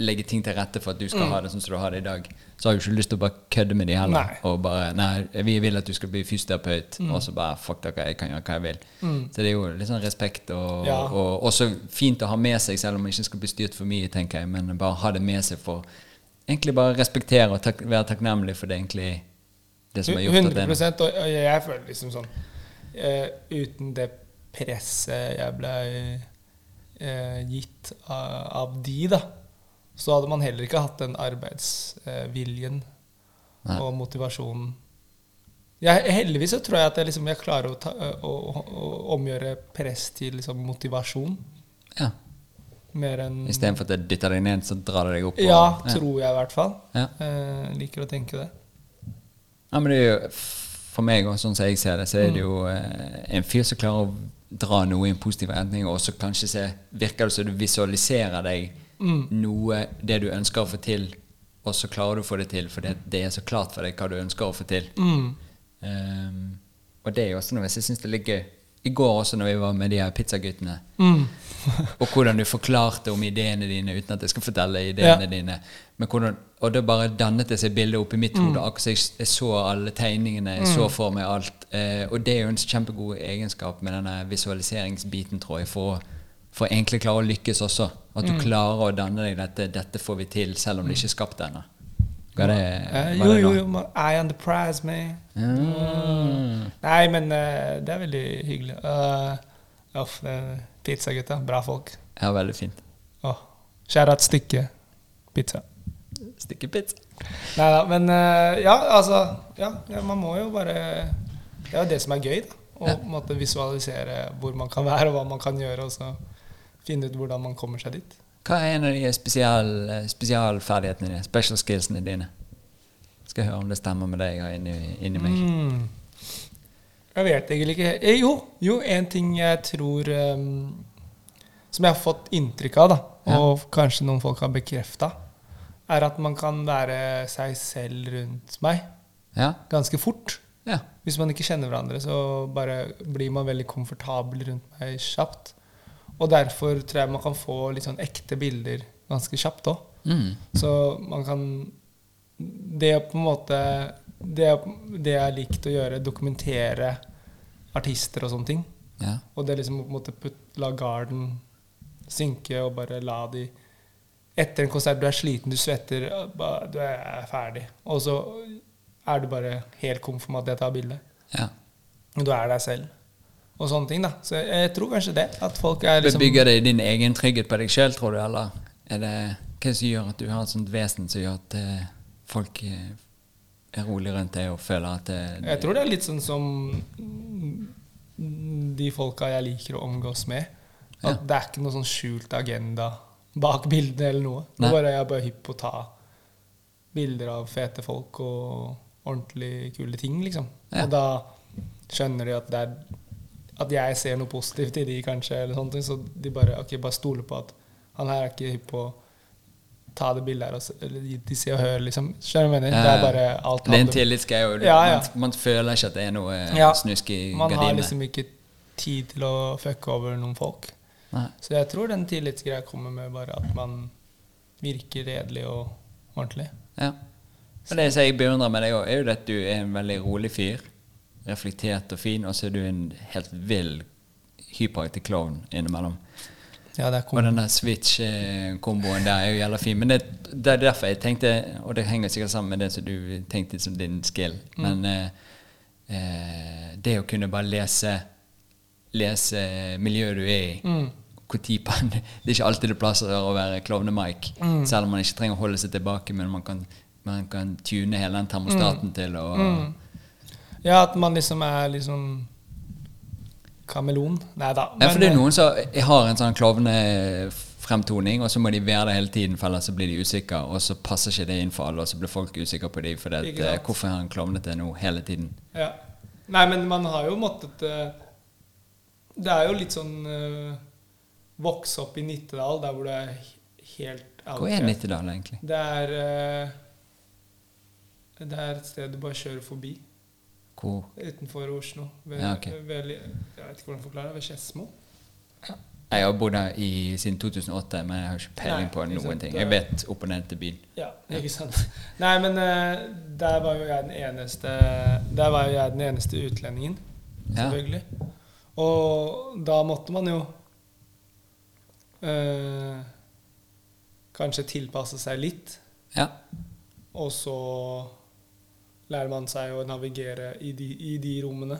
C: legge ting til rette for at du skal
D: Mm.
C: ha det sånn som du har det i dag, så har du ikke lyst til å bare kødde med de heller.
D: Nei. Mm.
C: Og bare Nei, vi vil at du skal bli fysioterapeut, og så bare Fuck dere, jeg kan gjøre hva jeg vil. Så det er jo litt sånn respekt, og,
D: Ja.
C: og også fint å ha med seg, selv om man ikke skal bli styrt for mye, tenker jeg, men bare ha det med seg for Egentlig bare respektere og tak være takknemlig for det egentlig det som har gjort at den
D: 100 og, og jeg føler liksom sånn eh, Uten det presset jeg ble eh, gitt av, av de, da, så hadde man heller ikke hatt den arbeidsviljen
C: Nei.
D: og motivasjonen. Jeg, heldigvis så tror jeg at jeg, liksom, jeg klarer å, ta, å, å, å omgjøre press til liksom, motivasjon.
C: Ja.
D: Mer enn
C: Istedenfor at det dytter deg ned, så drar det deg opp. og-
D: Ja, tror jeg i hvert fall.
C: Ja.
D: Eh, liker å tenke det.
C: ja, men det er jo For meg, og sånn som jeg ser det, så er det jo eh, en fyr som klarer å dra noe i en positiv retning, og så kanskje se Virker det som du visualiserer deg noe det du ønsker å få til, og så klarer du å få det til fordi at det er så klart for deg hva du ønsker å få til.
D: Mm.
C: Ehm, og det er jo også noe jeg syns det ligger I går også, når vi var med de her pizzaguttene,
D: Mm.
C: Og hvordan du forklarte om ideene dine uten at jeg skal fortelle ideene
D: Ja.
C: dine. Men hvordan, og da bare dannet det seg bildet oppi mitt
D: Mm.
C: hode. Akkurat som jeg, jeg så alle tegningene, jeg så for meg alt. Eh, og det er jo en kjempegod egenskap med denne visualiseringsbiten, tror jeg, for, å- for å egentlig klare å lykkes også. At
D: Mm.
C: du klarer å danne deg dette. Dette får vi til, selv om det ikke er skapt ennå. Ga det,
D: Eh,
C: var
D: jo,
C: det
D: jo,
C: bra?
D: jo. ma- Eye on the prize, man.
C: Mm.
D: Nei, men eh, det er veldig hyggelig. Uh, Uff, det er pizzagutta. Bra folk.
C: Ja, veldig fint.
D: Åh, Skjær av et stykke pizza.
C: Stykke pizza.
D: Nei da, men eh, ja, altså ja, ja, man må jo bare Det er jo det som er gøy, da. Å på en måte visualisere hvor man kan være, og hva man kan gjøre, og så finne ut hvordan man kommer seg dit.
C: Hva er en av de spesial, eh, spesialferdighetene dine? Special skillsene dine? Skal høre om det stemmer med det jeg har inni, inni meg.
D: Mm. Jeg vet egentlig ikke eh, Jo, jo, en ting jeg tror ehm, Som jeg har fått inntrykk av, da, og kanskje noen folk har bekrefta, er at man kan være seg selv rundt meg
C: Ja?
D: ganske fort.
C: Ja.
D: Hvis man ikke kjenner hverandre, så bare blir man veldig komfortabel rundt meg kjapt. Og derfor tror jeg man kan få litt sånn ekte bilder ganske kjapt òg.
C: Mm.
D: Så man kan Det er på en måte Det, er- det jeg har likt å gjøre, dokumentere artister og sånne ting.
C: Ja.
D: Og det liksom å på en måte putt, la garden synke og bare la de Etter en konsert, du er sliten, du svetter, ba- du er ferdig. Og så er du bare helt komfortabel med at jeg tar bilde.
C: ja.
D: Du er deg selv. Og sånne ting, da. Så jeg, jeg tror kanskje det. At folk er liksom
C: Bygger det din egen trygghet på deg sjøl, tror du, eller? Er det hva som gjør at du har et sånt vesen som gjør at eh, folk eh, er rolig rundt deg og føler at eh, det,
D: Jeg tror det er litt sånn som mm, de folka jeg liker å omgås med. At det er ikke noe sånn skjult agenda bak bildene eller noe. Det
C: Nei.
D: er bare, jeg er bare hypp på å ta bilder av fete folk og ordentlig kule ting, liksom.
C: Ja.
D: Og da skjønner de at det er at jeg ser noe positivt i de, kanskje, eller sånne ting. Så de bare, ok, bare stoler på at han her er ikke hypp på å ta det bildet her, og, s- eller gi til se og høre, liksom. Skjønner du hva jeg mener? Det er bare alt
C: Det er en
D: handler-
C: tillitsgreie. og du-
D: Ja, ja.
C: Man, man føler ikke at det er noe eh,
D: Ja.
C: snusk i
D: Man har
C: gardinene.
D: liksom ikke tid til å fucke over noen folk.
C: Nei.
D: Så jeg tror den tillitsgreia kommer med bare at man virker redelig og ordentlig.
C: Ja. Og det som jeg beundrer med deg òg, er jo at du er en veldig rolig fyr. Reflektert og fin, og så er du en helt vill, hyperaktig klovn innimellom.
D: Ja, det er
C: Og
D: kom
C: den der switch-komboen der er jo jævla fin. Men det, det er derfor jeg tenkte, og det henger sikkert sammen med det som du tenkte som din skill, men eh, eh, det å kunne bare lese lese miljøet du er i hvor tid på en- Det er ikke alltid det plasser å være klovne-Mike, selv om man ikke trenger å holde seg tilbake, men man kan, man kan tune hele den termostaten til å
D: Ja, at man liksom er liksom kameleon. Nei da.
C: Ja, for det er
D: eh,
C: noen som har en sånn klovnefremtoning, og så må de være det hele tiden, for ellers så blir de usikre, og så passer ikke det inn for alle, og så blir folk usikre på dem, for det at,
D: Ikke sant.
C: eh, hvorfor er han klovnete nå hele tiden?
D: Ja. Nei, men man har jo måttet eh, Det er jo litt sånn eh, Vokse opp i Nittedal, der hvor det er he- helt
C: Hvor er Nittedal egentlig?
D: Det er eh, Det er et sted du bare kjører forbi.
C: Hvor?
D: Utenfor Oslo. Ved,
C: Ja, ok.
D: ved, jeg vet ikke hvordan jeg forklarer det. Ved Skedsmo.
C: Jeg har bodd her i, siden 2008, men jeg har ikke peiling
D: Nei,
C: på
D: ikke
C: noen
D: sant.
C: ting. Jeg vet opp og ned til byen.
D: Ja, ikke sant. Nei, men eh, der var jo jeg den eneste Der var jo jeg den eneste utlendingen,
C: Ja.
D: selvfølgelig. Og da måtte man jo eh, Kanskje tilpasse seg litt.
C: Ja,
D: Og så lærer man seg å navigere i de, i de rommene.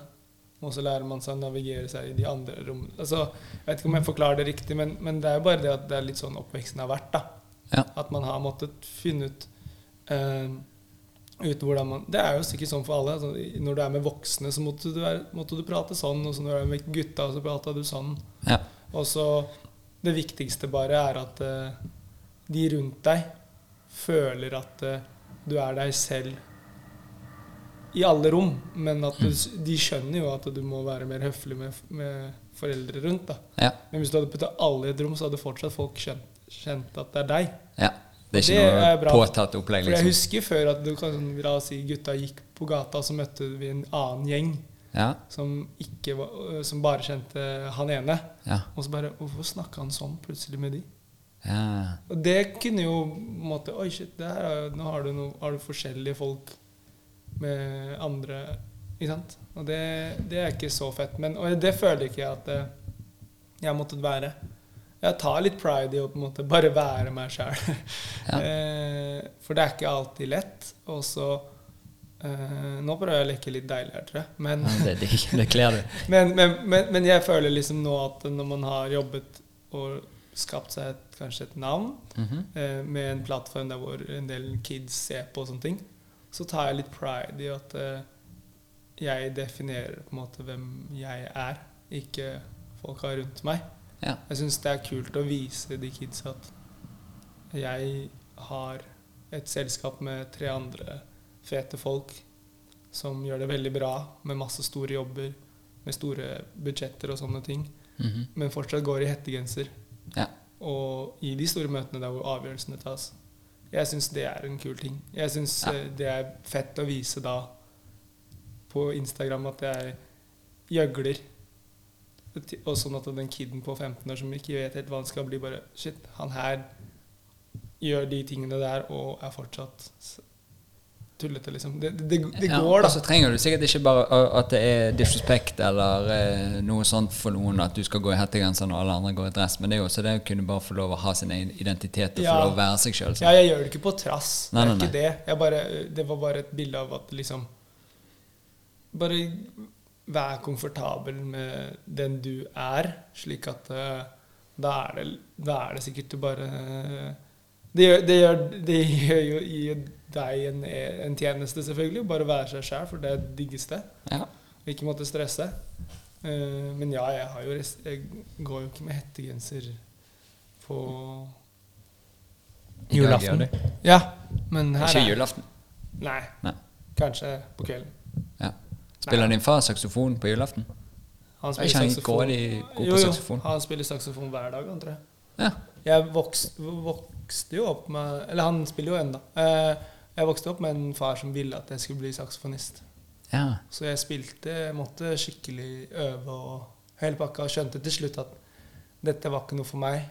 D: Og så lærer man seg å navigere seg i de andre rommene. Altså, jeg vet ikke om jeg forklarer det riktig, men, men det er jo bare det at det er litt sånn oppveksten har vært. da.
C: ja,
D: At man har måttet finne ut eh, ut hvordan man, Det er jo sikkert sånn for alle. altså, i- når du er med voksne, så måtte du, være, måtte du prate sånn. Og så når du er med gutta, så prata du sånn.
C: ja.
D: Og så Det viktigste bare er at eh, de rundt deg føler at eh, du er deg selv i alle rom, men at du, s- de skjønner jo at du må være mer høflig med, f- med foreldre rundt. da.
C: ja,
D: Men hvis du hadde putta alle i et rom, så hadde fortsatt folk kjent, kjent at det er deg.
C: ja. Det er ikke
D: Det er
C: noe
D: bra.
C: påtatt opplegg,
D: For jeg
C: liksom.
D: husker før at du kan sånn, la oss si gutta gikk på gata, og så møtte vi en annen gjeng
C: Ja,
D: som, ikke var, øh, som bare kjente han ene.
C: ja,
D: Og så bare Hvorfor snakka han sånn plutselig med de?
C: ja.
D: Og det kunne jo på en måte, Oi, shit, det her er, jo- nå har du, noe, har du forskjellige folk med andre Ikke sant? Og det, det er ikke så fett. Men, og det føler ikke jeg at eh, jeg har måttet være. Jeg tar litt pride i å på en måte bare være meg sjæl.
C: Ja.
D: For det er ikke alltid lett. Og så eh, Nå prøver jeg å leke litt deilig her, tror jeg. Men,
C: Ja, Det, det, det kler du.
D: men, men, men, men jeg føler liksom nå at når man har jobbet og skapt seg et, kanskje et navn,
C: Mhm.
D: eh, med en plattform der hvor en del kids ser på og sånne ting, så tar jeg litt pride i at eh, jeg definerer på en måte hvem jeg er, ikke folka rundt meg.
C: Ja,
D: Jeg syns det er kult å vise de kidsa at jeg har et selskap med tre andre fete folk som gjør det veldig bra, med masse store jobber, med store budsjetter og sånne ting,
C: mhm.
D: men fortsatt går i hettegenser
C: ja.
D: og i de store møtene der hvor avgjørelsene tas. Jeg syns det er en kul ting. Jeg syns
C: Ja.
D: det er fett å vise da på Instagram at jeg gjøgler. Og sånn at den kiden på 15 år som ikke vet helt hva han skal bli, bare Shit, han her gjør de tingene der og er fortsatt s- tullete, liksom. Det, det, det, det
C: Ja, Altså,
D: går,
C: Og så
D: da.
C: trenger du sikkert ikke bare å- at det er disrespekt eller eh, noe sånt for noen at du skal gå i hettegenser når alle andre går i dress, men det er jo også det å kunne bare få lov å ha sin egen identitet og få
D: Ja.
C: lov å være seg sjøl.
D: Ja, jeg gjør det ikke på trass.
C: Nei, nei,
D: det er ikke det. Jeg bare, det var bare et bilde av at liksom Bare vær komfortabel med den du er, slik at eh, da er det, da er det sikkert du bare eh, Det gjør, det gjør, det gjør jo gir deg en, en tjeneste, selvfølgelig. Bare være seg sjæl, for det er det diggeste.
C: Ja.
D: Og ikke måtte stresse. Eh, men ja, jeg, har jo res jeg går jo ikke med hettegenser på
C: I dag gjør du.
D: Ja, men her
C: Ikke
D: er-
C: julaften.
D: Nei,
C: Nei.
D: kanskje på kvelden.
C: Ja. Spiller din far saksofon på julaften?
D: Han
C: Er ikke han grådig god på
D: Jo, jo,
C: saksofon?
D: han spiller saksofon hver dag, han tror jeg.
C: Ja.
D: Jeg vokste, vokste jo opp med Eller han spiller jo ennå. Jeg vokste opp med en far som ville at jeg skulle bli saksofonist.
C: ja.
D: Så jeg spilte, jeg måtte skikkelig øve og hele pakka, og skjønte til slutt at dette var ikke noe for meg.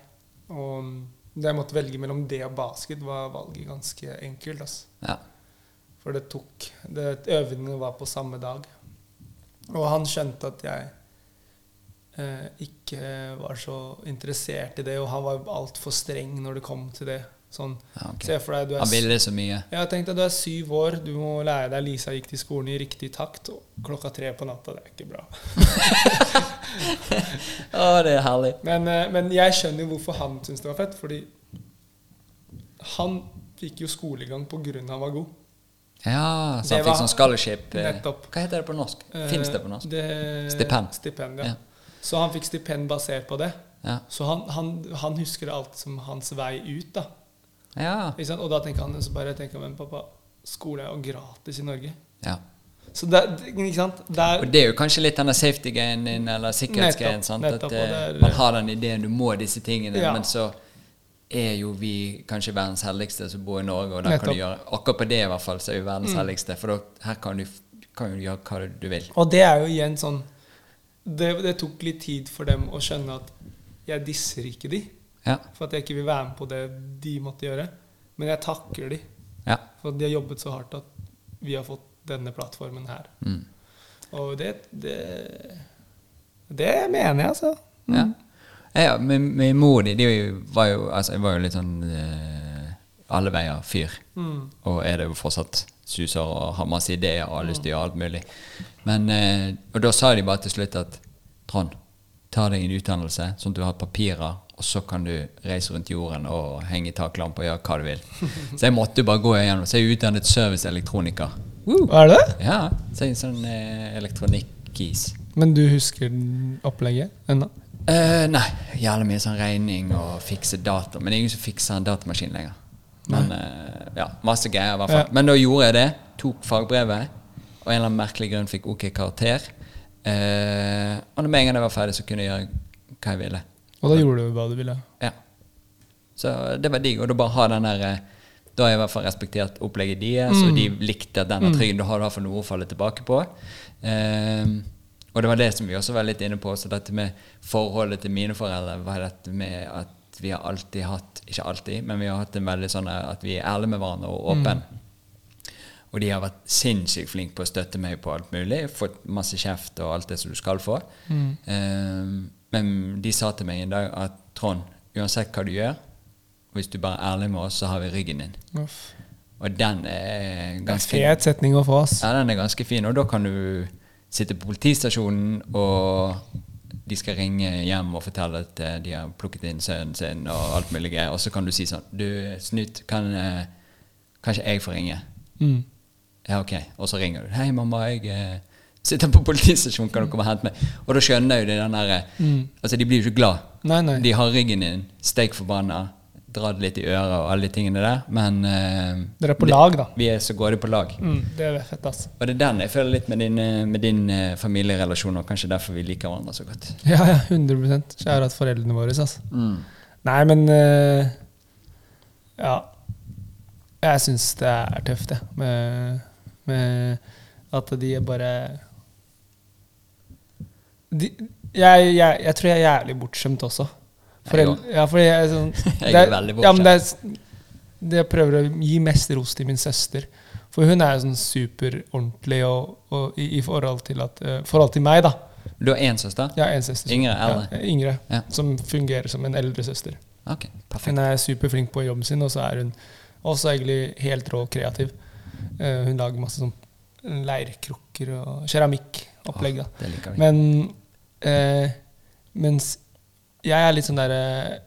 D: Og da jeg måtte velge mellom det og basket, var valget ganske enkelt. Altså.
C: ja.
D: For det tok det, Øvingene var på samme dag. Og han skjønte at jeg eh, ikke var så interessert i det, og han var altfor streng når det kom til det. Sånn,
C: Ja, ok.
D: Se for deg, du er
C: Han ville så mye.
D: jeg har tenkt at du er syv år, du må lære deg Lisa gikk til skolen i riktig takt. Og klokka tre på natta, det er ikke bra.
C: Å, det er herlig.
D: Men, eh, men jeg skjønner jo hvorfor han syntes det var fett, fordi han fikk jo skolegang på grunn av han var god.
C: Ja, så
D: Det
C: han
D: var-
C: fikk sånn scholarship. eh,
D: Nettopp.
C: Hva heter det på norsk?
D: Eh,
C: Fins det på norsk?
D: det-
C: altså. Stipend.
D: Stipend, ja.
C: Ja.
D: Så han fikk stipend basert på det.
C: Ja.
D: Så han, han, han husker alt som hans vei ut, da.
C: Ja.
D: Ikke sant? Og da tenker han så bare tenker han, men pappa, skole er jo gratis i Norge.
C: ja.
D: Så der, ikke sant? Der,
C: Og det er jo kanskje litt denne safety-greien din, eller sikkerhetsgreien.
D: Nettopp,
C: sant? At
D: nettopp,
C: eh,
D: og det er-
C: man har den ideen du må disse tingene,
D: Ja.
C: men så er jo vi kanskje verdens heldigste som bor i Norge, og da kan
D: Nettopp. Mm.
C: du gjøre akkurat på det i hvert fall, så er vi verdens heldigste, for da, her kan du, f- kan du gjøre hva du vil.
D: Og det er jo igjen sånn det, det tok litt tid for dem å skjønne at jeg disser ikke de,
C: Ja.
D: for at jeg ikke vil være med på det de måtte gjøre. Men jeg takker de,
C: Ja.
D: for at de har jobbet så hardt at vi har fått denne plattformen her.
C: Mm.
D: Og det Det, det mener jeg, altså.
C: Ja. Ja, min, min mor de, de var jo altså, Jeg var jo litt sånn eh, alle veier-fyr. Og er det jo fortsatt suser og har masse ideer og har lyst til å gjøre alt mulig. Men, eh, og da sa de bare til slutt at Trond, ta deg en utdannelse, sånn at du har papirer, og så kan du reise rundt jorden og henge i taklampe og gjøre hva du vil. Så jeg måtte jo bare gå igjennom. Så jeg er utdannet serviceelektroniker.
D: Hva er det?
C: Ja, så jeg er en sånn eh, elektronikkis.
D: Men du husker opplegget ennå?
C: Eh, nei. Jævlig mye sånn regning og fikse data. Men det er ingen som fikser en datamaskin lenger. Men eh, ja, Masse greier, i hvert fall.
D: Ja.
C: Men da gjorde jeg det. Tok fagbrevet. Og en eller annen merkelig grunn fikk OK karakter. Eh, og når med en gang jeg var ferdig, så kunne jeg gjøre hva jeg ville.
D: Og da gjorde du hva du ville?
C: Ja. Så det var digg. Og da bare ha den der eh, Da har jeg i hvert fall respektert opplegget deres, og de likte at den var trygg. Da har du i hvert fall noe å falle tilbake på. Ehm, og det var det som vi også var litt inne på, så dette med forholdet til mine foreldre var dette med at vi har alltid hatt Ikke alltid, men vi har hatt en veldig sånn eh, at vi er ærlige med hverandre og åpen. Og de har vært sinnssykt flinke på å støtte meg på alt mulig. Fått masse kjeft og alt det som du skal få. Eh, men de sa til meg en dag at Trond, uansett hva du gjør, hvis du bare er ærlig med oss, så har vi ryggen din.
D: Uff.
C: Og den er
D: Det er en
C: ganske
D: fet setning å få, ass.
C: ja, den er ganske fin, og da kan du sitte på politistasjonen, og de skal ringe hjem og fortelle at eh, de har plukket inn sønnen sin, og alt mulig greier, og så kan du si sånn Du, snytt, kan eh, Kanskje jeg får ringe?
D: Mm.
C: Ja, ok. Og så ringer du. 'Hei, mamma, jeg eh, sitter på politistasjonen, kan du komme og hente meg?' Og da skjønner jo de den derre Altså, de blir jo ikke glad.
D: Nei, Mm. nei.
C: De har ryggen din, steik forbanna, dratt litt i øret og alle de tingene der, men eh,
D: Dere er på lag, da.
C: vi er så grådig på lag.
D: Mm, det er fett, ass.
C: Og det er den jeg føler litt med din, eh, med din eh, familierelasjon, og kanskje derfor vi liker hverandre så godt.
D: Ja, ja, 100 Kjære at foreldrene våre, altså.
C: Mm.
D: Nei, men eh, Ja. Jeg syns det er tøft, jeg. Med, med at de bare de, Jeg, jeg, jeg tror jeg er jævlig bortskjemt også. For
C: Jeg
D: jeg,
C: også.
D: ja, fordi jeg, er sånn,
C: Jeg er
D: det
C: veldig
D: Ja, men det, er s- det jeg prøver å gi mest ros til min søster. For hun er jo sånn superordentlig og, og, i, i forhold, til at, eh, forhold til meg, da.
C: Du har én søster?
D: Jeg har en søster. som-
C: Yngre, eldre?
D: Ja, yngre
C: Ja.
D: Som fungerer som en eldre søster.
C: Ok, perfekt.
D: Hun er superflink på jobben sin, og så er hun også egentlig helt rå kreativ. Eh, hun lager masse sånn leirkrukker og keramikkopplegg. da.
C: Det liker vi.
D: Men eh, mens jeg er litt sånn derre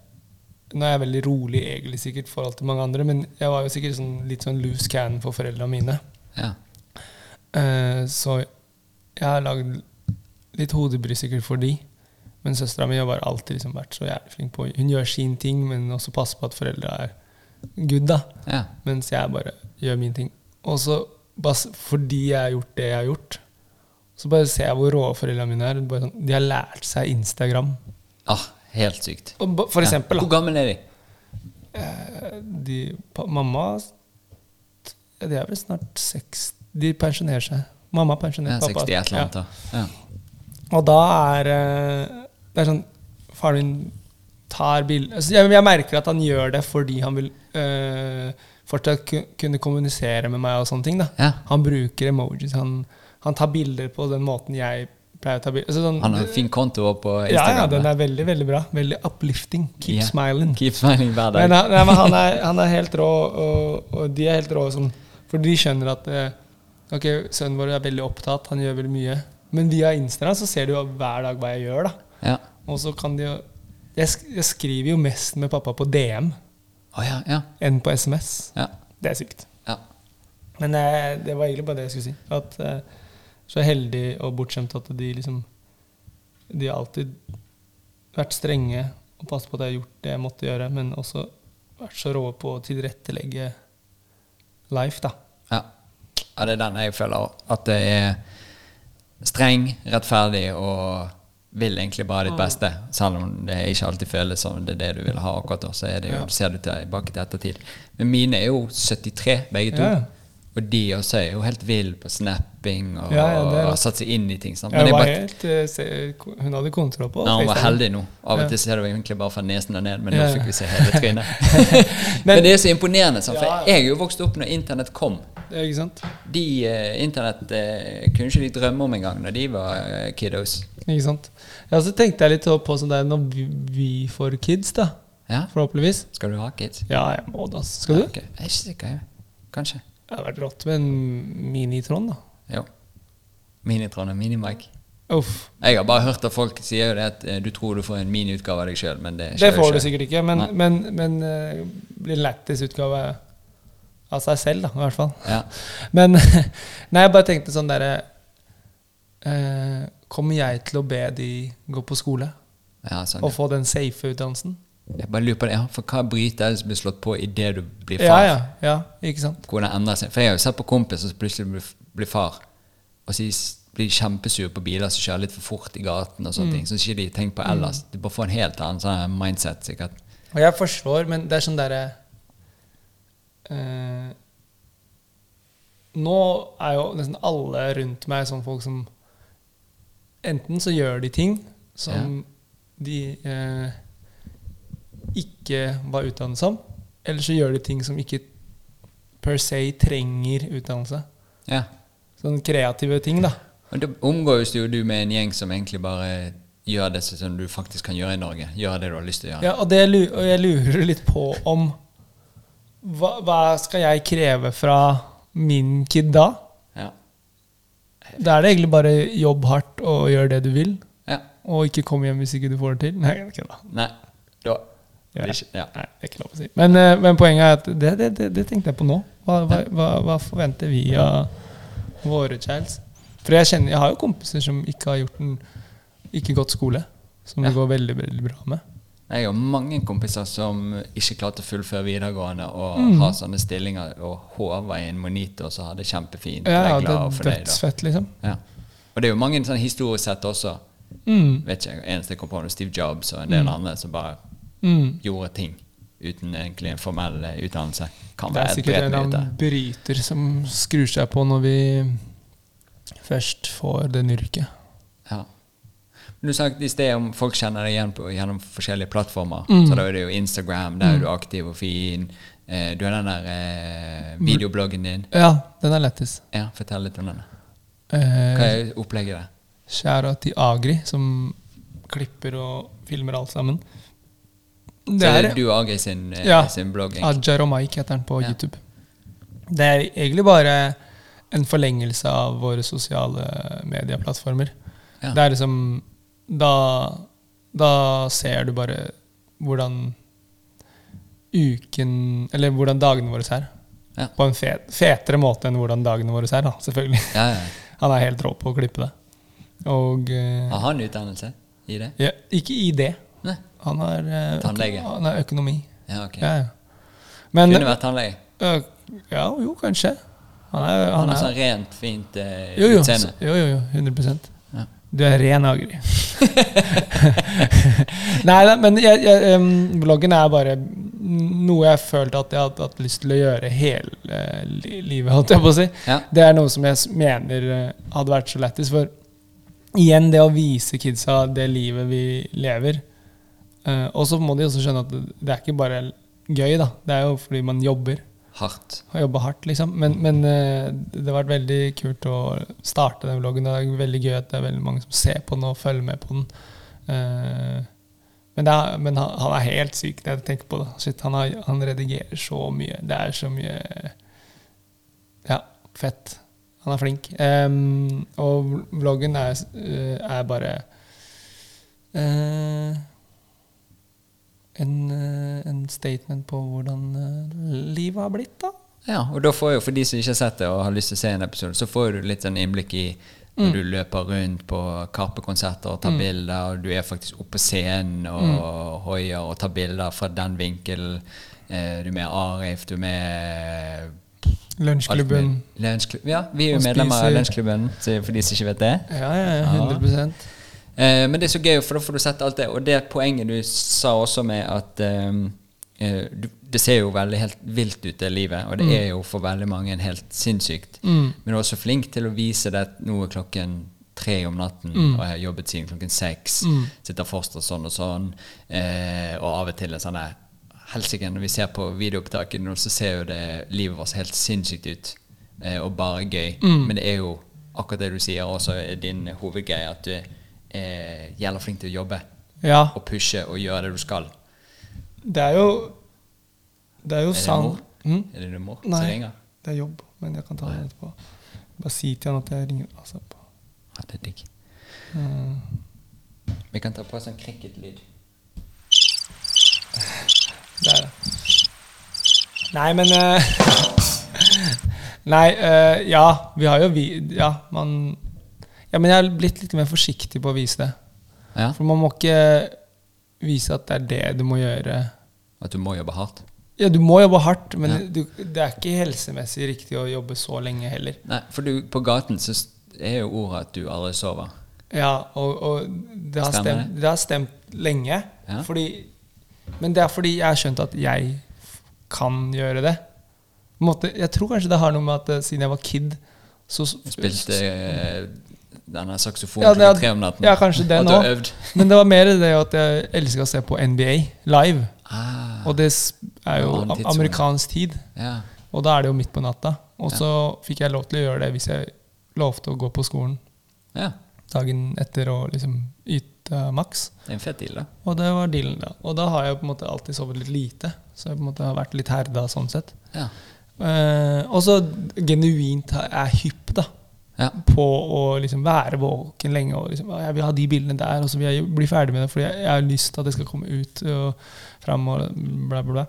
D: Nå er jeg veldig rolig egentlig sikkert i forhold til mange andre, men jeg var jo sikkert sånn, litt sånn loose cannon for foreldrene mine.
C: Ja.
D: Eh, så jeg har lagd litt hodebry sikkert for de. Men søstera mi har bare alltid liksom vært så jævlig flink på Hun gjør sin ting, men også passer på at foreldra er good, da.
C: ja.
D: Mens jeg bare gjør mine ting. Og så bare s- fordi jeg har gjort det jeg har gjort, så bare ser jeg hvor rå foreldrene mine er. Bare sånn, de har lært seg Instagram.
C: Ah, helt sykt.
D: Og ba- for
C: Ja.
D: eksempel,
C: Hvor
D: da. Eh,
C: gammel er de?
D: De, pa, mamma ja, De er vel snart 60 De pensjonerer seg. Mamma
C: Ja,
D: pensjonerer
C: 60 et eller
D: Ja.
C: annet. da. Ja.
D: Og da er eh, Det er sånn Faren min tar bilder altså, jeg, jeg merker at han gjør det fordi han vil eh, fortsatt ku- kunne kommunisere med meg og sånne ting. da
C: Ja.
D: Han bruker emojis. Han, han tar bilder på den måten jeg pleier å ta bilder altså, sånn,
C: Han har en fin konto også på
D: Ja,
C: Instagram.
D: ja, den er veldig, veldig bra. Veldig uplifting. Keep
C: Ja.
D: smiling.
C: Keep smiling hver dag.
D: Men, han- nei, men han, er, han er helt rå, og, og de er helt rå. Sånn, for de skjønner at eh, Ok, sønnen vår er veldig opptatt, han gjør veldig mye. Men via Instagram så ser du jo hver dag hva jeg gjør. da
C: Ja.
D: Og så kan de jo jeg, sk- jeg skriver jo mest med pappa på DM
C: Å, ja, ja,
D: enn på SMS.
C: ja,
D: Det er sykt.
C: ja.
D: Men eh, det var egentlig bare det jeg skulle si. At eh, Så heldig og bortskjemt at de liksom De har alltid vært strenge og passet på at jeg har gjort det jeg måtte gjøre, men også vært så rå på å tilrettelegge life, da.
C: ja. ja det er den jeg føler også. At det er streng, rettferdig og vil egentlig bare ditt beste. Selv om det ikke alltid føles som det er det du vil ha akkurat da, så er det jo, ser du tilbake til ettertid. Men mine er jo 73, begge to.
D: Ja.
C: Og de også er jo helt vill på snapping og,
D: Ja, ja, det er
C: og
D: det.
C: har satt seg inn i ting. Sant? Men
D: Jeg
C: det er
D: var
C: bare
D: helt, eh, se- hun hadde kontroll på
C: Ja, han var
D: FaceTime.
C: heldig nå. Av og
D: Ja.
C: til ser du egentlig bare fra nesen og ned, men nå
D: Ja.
C: fikk vi se hele trynet. men, det er så imponerende, sant, for
D: Ja, ja.
C: jeg er jo vokst opp når internett kom.
D: Ja, Ikke sant?
C: De eh, Internett eh, kunne ikke de drømme om engang når de var eh, kiddos.
D: Ikke sant? Ja, så tenkte jeg litt på sånn der når vi, vi får kids, da.
C: Ja,
D: Forhåpentligvis.
C: skal du ha kids?
D: Ja, jeg må det, ass. Skal du?
C: Ok, Jeg er ikke sikker, jeg. Kanskje.
D: Det hadde vært rått med en minitron, da.
C: Jo. Minitron og minimike.
D: Uff.
C: Jeg har bare hørt at folk sier jo det at eh, du tror du får en miniutgave av deg sjøl, men det
D: Det
C: skjer jo
D: får du
C: ikke.
D: sikkert ikke, men,
C: Nei.
D: men, men eh, blir en lættis utgave av seg selv, da, i hvert fall.
C: Ja.
D: Men Nei, jeg bare tenkte sånn derre eh, Kommer jeg til å be de gå på skole
C: Ja, sånn,
D: og få den safe utdannelsen?
C: Jeg bare lurer på det. Ja, for hva bryter er det som blir slått på idet du blir far?
D: Ja, ja, ja, ikke sant?
C: hvordan det endrer seg. For jeg har jo sett på kompiser som plutselig blir, blir far, og så blir de kjempesure på biler som kjører litt for fort i gaten og
D: Mm.
C: sånne ting. Så ikke de tenker på ellers. De bare får en helt annen sånn mindset, sikkert.
D: Og jeg forstår, men det er sånn derre eh, Nå er jo nesten alle rundt meg sånn folk som Enten så gjør de ting som de eh, ikke var utdannet som, eller så gjør de ting som ikke per se trenger utdannelse.
C: Ja.
D: Sånne kreative ting, da.
C: Og da omgås jo du med en gjeng som egentlig bare gjør det som du faktisk kan gjøre i Norge. Gjør det du har lyst til å gjøre.
D: Ja, og, det, lu- og jeg lurer litt på om hva, hva skal jeg kreve fra min kid da?
C: Ja.
D: Da er det egentlig bare jobb hardt og gjør det du vil.
C: ja.
D: Og ikke kom hjem hvis ikke du får det til. Nei, det er ikke da.
C: Nei. Da
D: Ja.
C: blir ikke, ja.
D: Nei, det er ikke lov å si. Men, eh, men poenget er at det, det, det, det tenkte jeg på nå. Hva, hva, hva, hva forventer vi av våre childs? For jeg kjenner, jeg har jo kompiser som ikke har gjort en ikke gått skole. Som det
C: Ja.
D: går veldig, veldig bra med.
C: Jeg har mange kompiser som ikke klarte å fullføre videregående og
D: Mm.
C: har sånne stillinger og håver i en monitor så har det kjempefint.
D: Ja,
C: Jeg
D: ja,
C: er
D: det
C: glad
D: er
C: for deg, da.
D: dødsfett, liksom.
C: Ja. Og det er jo mange sånn historisk sett også.
D: Mm,
C: Vet ikke, eneste jeg kom på var Steve Jobs og en del andre som bare
D: mm.
C: gjorde ting uten egentlig en formell eh, utdannelse. Kan
D: Det er
C: være et
D: sikkert en
C: bredt
D: eller
C: nytte.
D: annen bryter som skrur seg på når vi først får den yrket.
C: Ja. Men du snakket i sted om folk kjenner deg igjen på, gjennom forskjellige plattformer.
D: Mm.
C: Så da er det jo Instagram, der er du aktiv og fin. Eh, du har den der eh, videobloggen din.
D: Ja, den er lettest.
C: Ja, fortell litt om den. Hva
D: Eh,
C: er opplegget der?
D: Kjære til Agri, som klipper og filmer alt sammen.
C: Så
D: Det
C: er
D: er
C: det du og Agri sin, eh,
D: Ja.
C: sin blogg. egentlig.
D: Ajar og Mike heter den på
C: Ja.
D: YouTube. Det er egentlig bare en forlengelse av våre sosiale medieplattformer.
C: Ja.
D: Det er liksom da, da ser du bare hvordan uken Eller hvordan dagene våre er.
C: Ja.
D: På en fet, fetere måte enn hvordan dagene våre er, da, selvfølgelig.
C: Ja, ja.
D: Han er helt rå på å klippe det. Og eh,
C: Har han utdannelse i det?
D: ja, Ikke i det.
C: Nei.
D: Han er, eh, øko-
C: Tannlege.
D: han er økonomi.
C: Ja, ok.
D: Ja, ja. Men
C: Kunne vært tannlege.
D: Øh, Ja, jo, kanskje. Han er,
C: Han
D: han
C: har
D: er,
C: sånn rent, fint eh,
D: jo, jo,
C: utseende.
D: så- jo, jo, jo, 100
C: Ja.
D: Du er ren agri. Nei, nei, men jeg, jeg, em, bloggen er bare noe jeg følte at jeg hadde hatt lyst til å gjøre hele eh, li- livet, holdt jeg på å si.
C: Ja.
D: Det er noe som jeg s- mener eh, hadde vært så lættis. For igjen, det å vise kidsa det livet vi lever eh, Og så må de også skjønne at det, det er ikke bare gøy, da. Det er jo fordi man jobber
C: Hardt.
D: har jobba hardt, liksom. Men, men eh, det har vært veldig kult å starte den vloggen. Det er veldig gøy at det er veldig mange som ser på den og følger med på den. Eh, men det er, men han, han er helt syk når jeg tenker på det. Shit, han, har, han redigerer så mye. Det er så mye Ja, fett. Han er flink. Em, og vloggen er, eh, er bare eh, en, eh, en statement på hvordan eh, livet har blitt, da.
C: Ja, og da får jo, for de som ikke har sett det og har lyst til å se en episode, så får du litt sånn innblikk i når
D: Mm.
C: du løper rundt på Karpe-konserter og tar bilder, og du er faktisk oppe på scenen og
D: Mm.
C: hoier og tar bilder fra den vinkelen. Eh, du er med Arif, du er med alt
D: Lunsjklubben.
C: mulig. Lunsjklubb- Ja, vi er
D: Og
C: jo medlemmer av
D: spiser.
C: Lunsjklubben, så for de som ikke vet det.
D: Ja, ja, ja,
C: Ja.
D: 100
C: Eh, men det er så gøy, for da får du sett alt det. Og det poenget du sa også med at eh, eh, du, Det ser jo veldig helt vilt ut, det livet, og det er jo for veldig mange helt sinnssykt. Men du er også flink til å vise det at nå er klokken tre om natten,
D: Mm.
C: og jeg har jobbet siden klokken seks, sitter fortsatt sånn og sånn, eh, og av og til er sånn der Helsike, når vi ser på videoopptaket nå, så ser jo det livet vårt helt sinnssykt ut, eh, og bare gøy.
D: Mm.
C: Men det er jo akkurat det du sier også, er din hovedgreie, at du er jævla flink til å jobbe
D: Ja,
C: og pushe og gjøre det du skal.
D: det er jo Det er jo
C: Er det
D: sant.
C: mor?
D: Mm?
C: Er det din mor som
D: Nei,
C: ringer?
D: det er jobb, men jeg kan ta det etterpå. Bare si til han at jeg ringer altså, på.
C: Ja, det er digg.
D: Mm.
C: Vi kan ta på sånn cricketlyd.
D: Det er det. Nei, men eh, Nei, eh, ja. Vi har jo vi... Ja, man Ja, men jeg har blitt litt mer forsiktig på å vise det.
C: Ja,
D: For man må ikke vise at det er det du må gjøre.
C: at du må jobbe hardt.
D: Ja, du må jobbe hardt, men
C: Ja.
D: du, det er ikke helsemessig riktig å jobbe så lenge heller.
C: Nei, for du, på gaten så s- er jo ordet at du aldri sover.
D: Ja, og, og det, har
C: Stemmer
D: stemt, det har stemt lenge.
C: Ja.
D: Fordi, men det er fordi jeg har skjønt at jeg kan gjøre det. På en måte, jeg tror kanskje det har noe med at eh, siden jeg var kid så
C: Du spilte eh, denne saksofonen
D: Ja, det er-
C: klokka tre om natten.
D: ja, kanskje det
C: At du
D: nå.
C: har øvd.
D: Men det var mer det at jeg elska å se på NBA live.
C: Ah,
D: Og det s- er jo
C: Annen tidssone.
D: amerikansk tid.
C: ja.
D: Og da er det jo midt på natta. Og så fikk jeg lov til å gjøre det hvis jeg lovte å gå på skolen
C: ja.
D: dagen etter og liksom yte maks.
C: Det er en fet deal, da.
D: Og det var dealen da. Og da har jeg på en måte alltid sovet litt lite. Så jeg på en måte har vært litt herda sånn sett.
C: Ja.
D: Eh, og så genuint er jeg hypp da,
C: Ja.
D: på å liksom være våken lenge. Og liksom, «Å, jeg vil ha de bildene der, og så vil jeg bli ferdig med det. Fordi jeg, jeg har lyst til at det skal komme ut og fram og bla, bla, bla.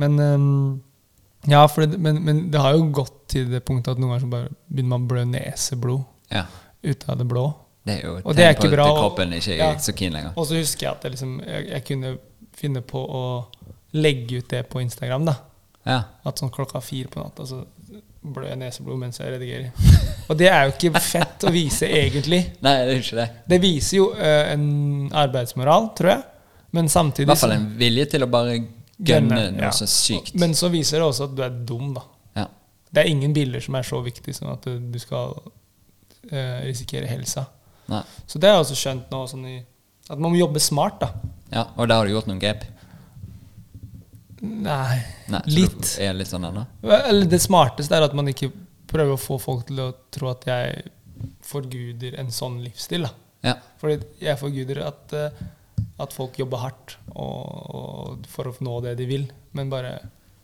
D: Men, eh, ja, for det, men, men det har jo gått til det punktet at noen ganger så bare begynner man å blø neseblod
C: ja.
D: ut av det blå.
C: Det er jo et
D: Og det er
C: tegn på
D: ikke bra,
C: at
D: og-
C: kroppen ikke er
D: ja.
C: så keen lenger.
D: Og så husker jeg at jeg, liksom, jeg, jeg kunne finne på å legge ut det på Instagram. da.
C: Ja.
D: At sånn klokka fire på natta så blør jeg neseblod mens jeg redigerer. Og det er jo ikke fett å vise, egentlig.
C: Nei, det er jo ikke det.
D: Det viser jo eh, en arbeidsmoral, tror jeg. Men
C: I
D: samtidig
C: hvert fall
D: så-
C: en vilje til å bare gønne
D: Gønne,
C: noe
D: ja.
C: så sykt.
D: Men så viser det også at du er dum, da.
C: ja.
D: Det er ingen bilder som er så viktige som at du, du skal eh, risikere helsa.
C: Nei.
D: Så det har jeg også skjønt nå, sånn i, at man må jobbe smart, da.
C: Ja, og der har du gjort noen grep?
D: Nei,
C: Nei, så
D: litt.
C: Du er litt sånn ennå?
D: Eller det smarteste er at man ikke prøver å få folk til å tro at jeg forguder en sånn livsstil. da.
C: Ja.
D: Fordi jeg forguder at, eh, at folk jobber hardt og, og for å nå det de vil. Men bare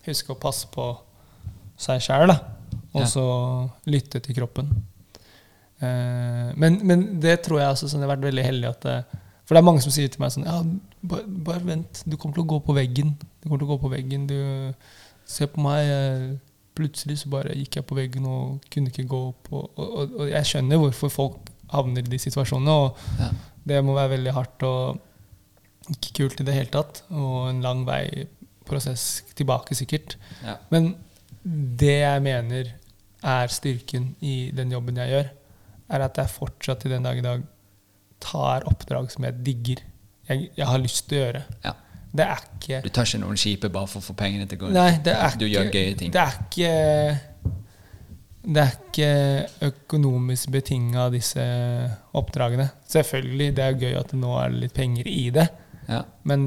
D: huske å passe på seg sjæl, da. Og
C: Ja.
D: så lytte til kroppen. Eh, men, men det tror jeg også sånn, jeg har vært veldig heldig at eh, For det er mange som sier til meg sånn ja, bare, bare vent, du kommer til å gå på veggen. Du kommer til å gå på veggen. Du, se på meg. eh, Plutselig så bare gikk jeg på veggen og kunne ikke gå opp. Og, og, og, og jeg skjønner hvorfor folk havner i de situasjonene. Og,
C: ja.
D: det må være veldig hardt og ikke kult i det hele tatt. Og en lang vei prosess tilbake, sikkert.
C: ja.
D: Men det jeg mener er styrken i den jobben jeg gjør, er at jeg fortsatt til den dag i dag tar oppdrag som jeg digger. Jeg, jeg har lyst til å gjøre.
C: ja.
D: Det er ikke
C: Du tar ikke noen kjipe bare for å få pengene til å gå rundt?
D: Nei, det er ikke
C: Du gjør gøye ting?
D: Det er ikke det er ikke økonomisk betinga, disse oppdragene. Selvfølgelig, det er gøy at det nå er litt penger i det,
C: Ja.
D: men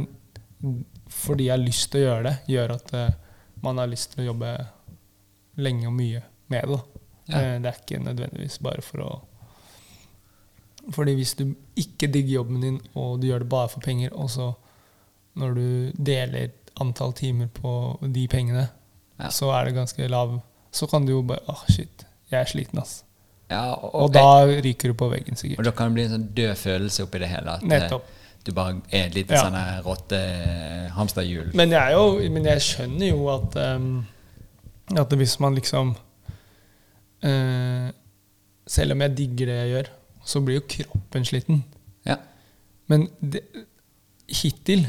D: fordi jeg har lyst til å gjøre det, gjør at eh, man har lyst til å jobbe lenge og mye med det. da.
C: Ja.
D: Eh, Det er ikke nødvendigvis bare for å Fordi hvis du ikke digger jobben din, og du gjør det bare for penger, og så når du deler antall timer på de pengene,
C: Ja.
D: så er det ganske lav Så kan du jo bare Åh, shit, jeg er sliten, ass.
C: ja og,
D: Og da ryker du på veggen, sikkert.
C: og da kan det bli en sånn død følelse oppi det hele. At eh,
D: Nettopp.
C: du bare er et lite
D: Ja.
C: sånn her eh, rotte-hamsterhjul.
D: Men jeg, er jo, men jeg skjønner jo at, ehm, at hvis man liksom eh, Selv om jeg digger det jeg gjør, så blir jo kroppen sliten.
C: Ja.
D: Men det, hittil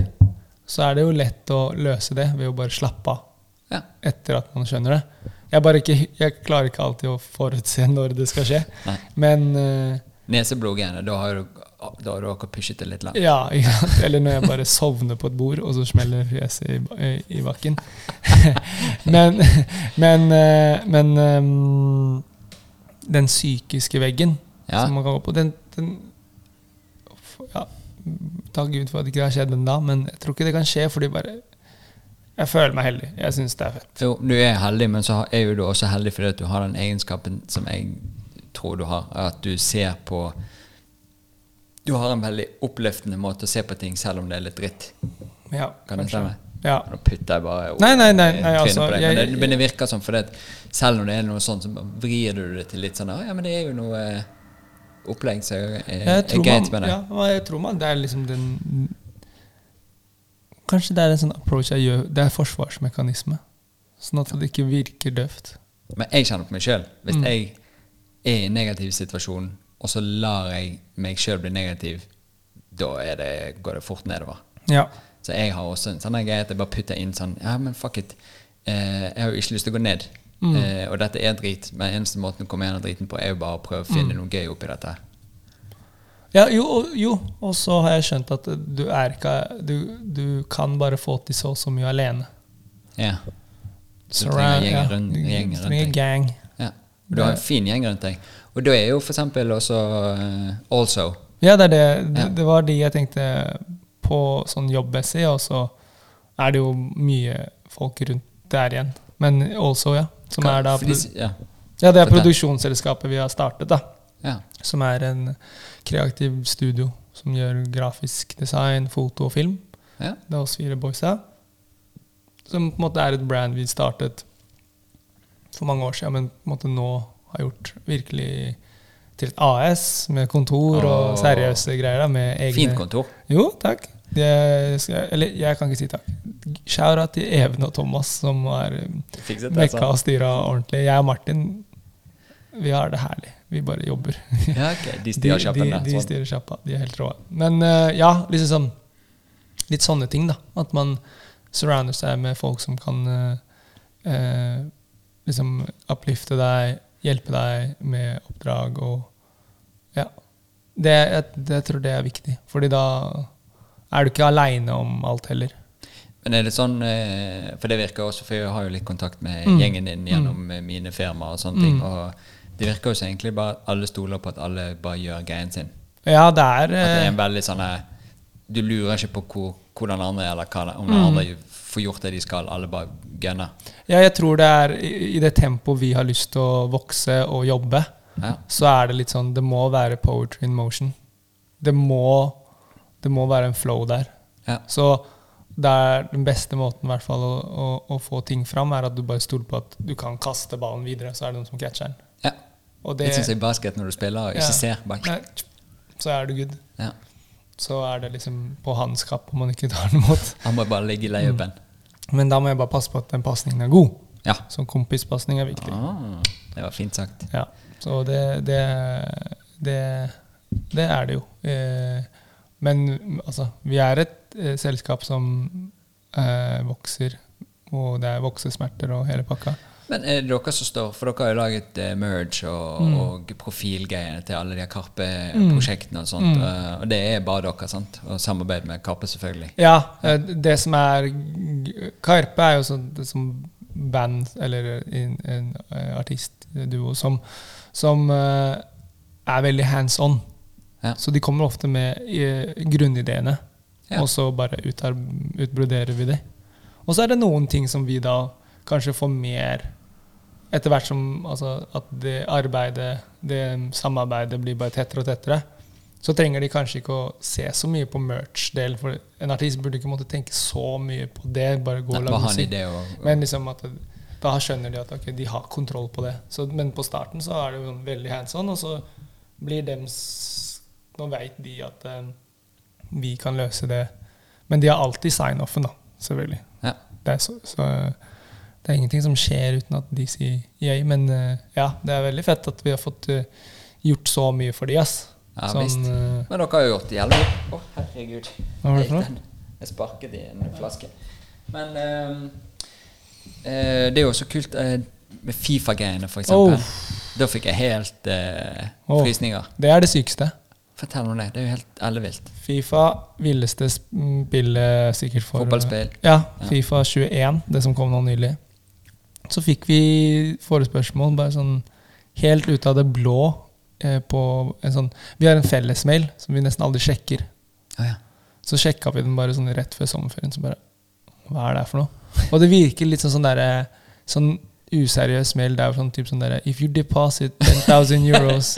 D: så er det jo lett å løse det ved å bare slappe av
C: Ja.
D: etter at man skjønner det. Jeg, bare ikke, jeg klarer ikke alltid å forutse når det skal skje.
C: Nei.
D: Men eh,
C: Neseblodgene, da har du da har dere pushet det litt langt.
D: Ja, ikke sant? eller når jeg bare sovner på et bord, og så smeller fjeset i, ba- i- i bakken. men men, eh, men ehm, den psykiske veggen
C: Ja.
D: som man kan gå på, den, den ja, Takk Gud for at ikke det har skjedd ennå, men jeg tror ikke det kan skje, fordi bare Jeg føler meg heldig. Jeg syns det er fett.
C: Jo, du er heldig, men så er jo du også heldig fordi at du har den egenskapen som jeg tror du har, at du ser på Du har en veldig oppløftende måte å se på ting selv om det er litt dritt.
D: Ja,
C: Kan det
D: kanskje.
C: stemme?
D: Ja.
C: Nå putter jeg bare
D: Nei, nei, nei, nei,
C: trynet
D: altså,
C: på deg. Men
D: jeg-
C: det, men det virker sånn, for det, selv om det er noe sånt, så vrir du det til litt sånn Ja, men det er jo noe eh, opplegg som er, er
D: Jeg tror,
C: greit
D: man,
C: med det.
D: ja, men jeg tror man Det er liksom den Kanskje det er en sånn approach jeg gjør Det er forsvarsmekanisme. Sånn at det ikke virker døvt.
C: Men jeg kjenner på meg sjøl. Hvis
D: Mm.
C: jeg er i en negativ situasjon, og så lar jeg meg sjøl bli negativ, da er det, går det fort nedover.
D: Ja.
C: Så jeg har også en sånn her greie at jeg bare putter inn sånn Ja, men fuck it. Eh, jeg har jo ikke lyst til å gå ned.
D: Mm.
C: Eh, og dette er drit, men eneste måten å komme gjennom driten på, er jo bare å prøve å
D: Mm.
C: finne noe gøy oppi dette. her.
D: ja jo, og- jo, og så har jeg skjønt at du er ikke Du, du kan bare få til så og så mye alene.
C: Ja. Så du trenger
D: Surround-
C: gjengen
D: ja,
C: rundt,
D: du
C: gjengen rundt deg.
D: trenger gang.
C: Ja. Og Du har
D: Eh.
C: en fin gjeng rundt deg. Og da er jo for eksempel også eh, Also.
D: Ja, det er det. Det,
C: Ja.
D: det var de jeg tenkte på sånn jobbmessig, og så er det jo mye folk rundt der igjen. Men also, ja. Som
C: Hva-
D: er da
C: for de s- ja.
D: Ja, det er
C: Fortell.
D: produksjonsselskapet vi har startet, da.
C: ja.
D: Som er en kreativ studio som gjør grafisk design, foto og film.
C: Ja.
D: Det er oss fire boysa. Som på en måte er et brand vi startet for mange år siden, men på en måte nå har gjort virkelig til et AS med kontor
C: Åh.
D: og seriøse greier. da, med egne...
C: Fint kontor.
D: Jo, takk. Det skal, eller jeg kan ikke si takk. Shoura til Even og Thomas, som har um,
C: Fikset det,
D: Mekka og styra ordentlig. Jeg og Martin, vi har det herlig. Vi bare jobber.
C: Ja, ok. De styrer kjapt
D: de,
C: den der.
D: de
C: sånn.
D: styrer kjappa. De er helt rå. Men eh, ja, liksom sånn Litt sånne ting, da. At man surrounder seg med folk som kan eh, eh, liksom uplifte deg, hjelpe deg med oppdrag og Ja. Det, jeg, det tror det er viktig. Fordi da er du ikke aleine om alt heller.
C: Men er det sånn, eh, for det virker også, for jeg har jo litt kontakt med
D: Mm.
C: gjengen din gjennom eh, mine firmaer og sånne ting, og det virker jo så egentlig bare at alle stoler på at alle bare gjør greien sin.
D: Ja, det
C: At
D: er
C: det er
D: eh,
C: en veldig sånn eh, Du lurer ikke på hvor, hvordan andre er, eller hva, det- om den
D: Mm.
C: andre får gjort det de skal. Alle bare gunner.
D: Ja, jeg tror det er i i det tempoet vi har lyst til å vokse og jobbe,
C: Ja.
D: så er det litt sånn Det må være poetry in motion. Det må, det må være en flow der.
C: Ja.
D: Så det er den beste måten i hvert fall å, å, å få ting fram, er at du bare stoler på at du kan kaste ballen videre, så er det noen som catcher den.
C: ja.
D: Og det-
C: Litt sånn som i basket når du spiller og ikke
D: Ja.
C: ser. Bare.
D: Nei, så er du good.
C: Ja.
D: Så er det liksom på hans kapp om man ikke tar den imot.
C: Han må bare ligge i layupen.
D: Mm. Men da må jeg bare passe på at den pasningen er god.
C: Ja.
D: Sånn kompispasning er viktig.
C: Ah, det var fint sagt.
D: Ja, så det det, det det er det jo. Eh, men altså, vi er et eh, selskap som eh, vokser, og det er voksesmerter og hele pakka.
C: Men er det dere som står For dere har jo laget eh, merge og,
D: Mm.
C: og profilgreiene til alle de her Karpe-prosjektene og
D: Mm.
C: sånt. eh, Og det er bare dere, sant? Og samarbeid med Karpe, selvfølgelig.
D: Ja, eh, det som er g- Karpe er jo sånn det som band, eller en, en eh, artistduo, som, som eh, er veldig hands on.
C: Ja.
D: Så de kommer ofte med eh, grunnideene,
C: Ja.
D: og så bare utar- utbroderer vi det. Og så er det noen ting som vi da kanskje får mer etter hvert som altså, at det arbeidet, det samarbeidet blir bare tettere og tettere, så trenger de kanskje ikke å se så mye på merch-delen. For en artist burde ikke måtte tenke så mye på det. Bare gå
C: Nei,
D: og
C: Bare
D: lage
C: ha en
D: musikk.
C: idé og
D: Men liksom at da skjønner de at ok, de har kontroll på det. Så, men på starten så er det jo sånn veldig hands on, og så blir dems Nå veit de at eh, vi kan løse det. Men de har alltid sign-offen, da. Selvfølgelig.
C: ja.
D: Det er, så, så, det er ingenting som skjer uten at de sier yay, men eh, ja, det er veldig fett at vi har fått eh, gjort så mye for de, ass.
C: Ja,
D: Sånn,
C: visst.
D: eh,
C: Men dere har jo gjort jævlig Å, herregud.
D: Hva var det for noe?
C: Jeg gikk den. Jeg sparket i en flaske. Men ehm, eh, det er jo så kult eh, med Fifa-greiene, for eksempel. Da fikk jeg helt eh,
D: Oh.
C: frysninger.
D: det er det sykeste.
C: Fortell om det. Det er jo helt ellevilt.
D: Fifa, villeste mm, spillet sikkert for
C: Fotballspill.
D: Ja,
C: Ja.
D: Fifa 21, det som kom nå nylig. Så fikk vi forespørsmål bare sånn helt ut av det blå eh, på en sånn Vi har en fellesmail som vi nesten aldri sjekker.
C: Å ja.
D: Så sjekka vi den bare sånn rett før sommerferien. Så bare Hva er det her for noe? Og det virker litt sånn sånn derre Sånn useriøs mail. Det er jo sånn type sånn derre If you deposit 10,000 euros,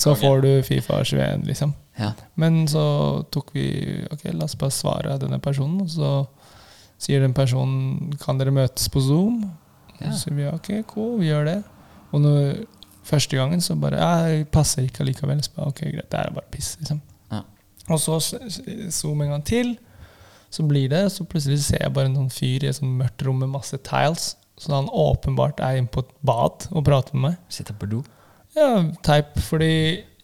D: så får du Fifa 21, liksom.
C: Ja.
D: Men så tok vi Ok, la oss bare svare denne personen. Og så sier den personen Kan dere møtes på Zoom?
C: Ja.
D: Og så sier vi ok, cool, vi gjør det. Og når, første gangen så bare Ja, det passer ikke allikevel. Så bare, ok, greit, det er bare piss, liksom.
C: Ja.
D: Og så s- s- Zoom en gang til. Så blir det, så plutselig ser jeg bare en sånn fyr i et sånn mørkt rom med masse tiles. Så han åpenbart er inne på et bad og prater med meg.
C: Sitter på do.
D: Ja, teip, fordi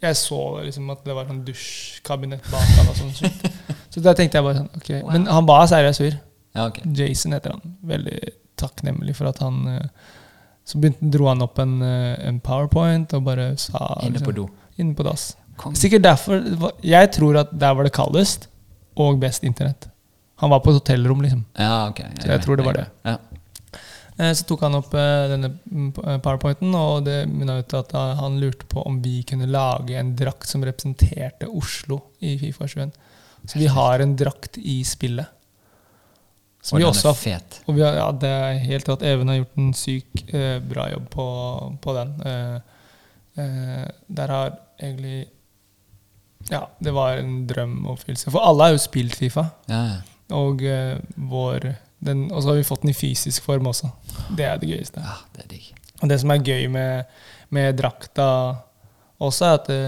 D: jeg så liksom at det var sånn dusjkabinett bak han og sånn shit. Så der tenkte jeg bare sånn, ok. Men han var seriøst fyr.
C: Ja, ok.
D: Jason heter han. Veldig takknemlig for at han eh, Så begynte, dro han opp en, eh, en powerpoint og bare sa
C: Inne på
D: liksom,
C: do.
D: Inne på dass.
C: Kom.
D: Sikkert derfor det var- Jeg tror at der var det kaldest og best internett. Han var på et hotellrom, liksom.
C: Ja, ok.
D: Så jeg tror det var det.
C: Ja.
D: Eh, Så tok han opp eh, denne mm, p- eh, powerpointen, og det minna ut til at eh, han lurte på om vi kunne lage en drakt som representerte Oslo i Fifa 21. Så vi har en drakt i spillet.
C: Og
D: Som vi
C: den er
D: også har f-
C: fet.
D: og vi har, ja, det er helt rått. Even har gjort en syk eh, bra jobb på, på den. Eh, eh, der har egentlig Ja, det var en drøm å fylle seg. For alle har jo spilt Fifa.
C: Ja, ja.
D: Og eh, vår den, Og så har vi fått den i fysisk form også. Det er det gøyeste.
C: ja, Ah, det er digg.
D: Og det som er gøy med, med drakta også, er at det,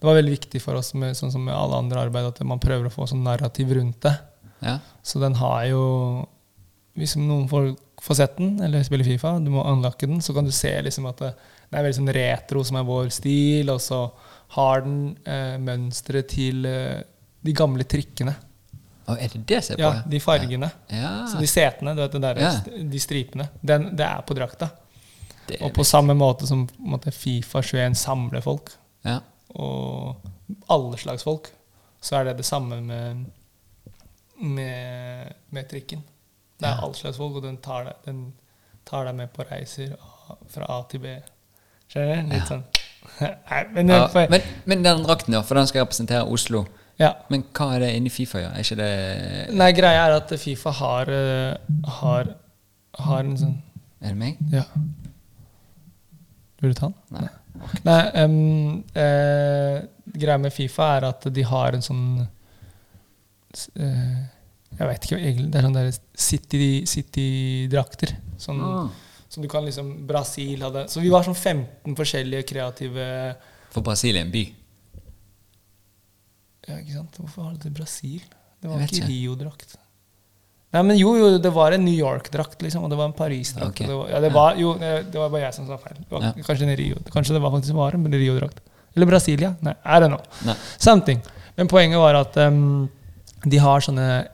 D: det var veldig viktig for oss, med, sånn som med alle andre arbeid, at man prøver å få sånn narrativ rundt det.
C: Ja.
D: Så den har jo Hvis noen får, får sett den, eller spiller Fifa, du må unlocke den, så kan du se liksom at det, det er veldig sånn retro som er vår stil, og så har den eh, mønstre til eh, de gamle trikkene.
C: Og er det det jeg ser
D: Ja,
C: på?
D: de fargene.
C: Ja.
D: Så de setene, du vet, det der,
C: Ja.
D: st- de stripene, den, det er på drakta.
C: Det er
D: Og på samme måte som på en måte, Fifa 21 samler folk,
C: Ja.
D: og alle slags folk, så er det det samme med, med, med trikken. Det er all slags folk, og den tar deg, den tar deg med på reiser a- fra A til B. Skjønner du? Litt sånn. Nei, men,
C: Ja,
D: eh, for,
C: men, men den drakten, da, for den skal representere Oslo.
D: ja.
C: Men hva er det inni Fifa gjør? Er ikke det
D: Nei, greia er at Fifa har eh, Har, har en sånn
C: Er det meg?
D: Ja. Vil du ta den?
C: Nei.
D: Nei, em, eh, greia med Fifa er at de har en sånn s- eh, Jeg vet ikke egentlig. Det er sånn der City- City-drakter. sånn,
C: Ah.
D: Som du kan liksom Brasil hadde Så vi var sånn 15 forskjellige kreative
C: For Brasil er en by.
D: Ja, ikke sant? Hvorfor har du det i Brasil? Det
C: Jeg
D: var
C: vet
D: ikke
C: ikke.
D: Rio-drakt. Nei, men jo, jo, det var en New York-drakt, liksom, og det var en Paris-drakt.
C: Ok.
D: og Det, var- ja, det, var- jo, eh, det var bare jeg som sa feil. Det var,
C: Ja.
D: Kanskje en Rio. Kanskje det var faktisk var en Rio-drakt. Eller Brasilia. Nei, I don't know.
C: Nei.
D: Something. Men poenget var at em, de har sånne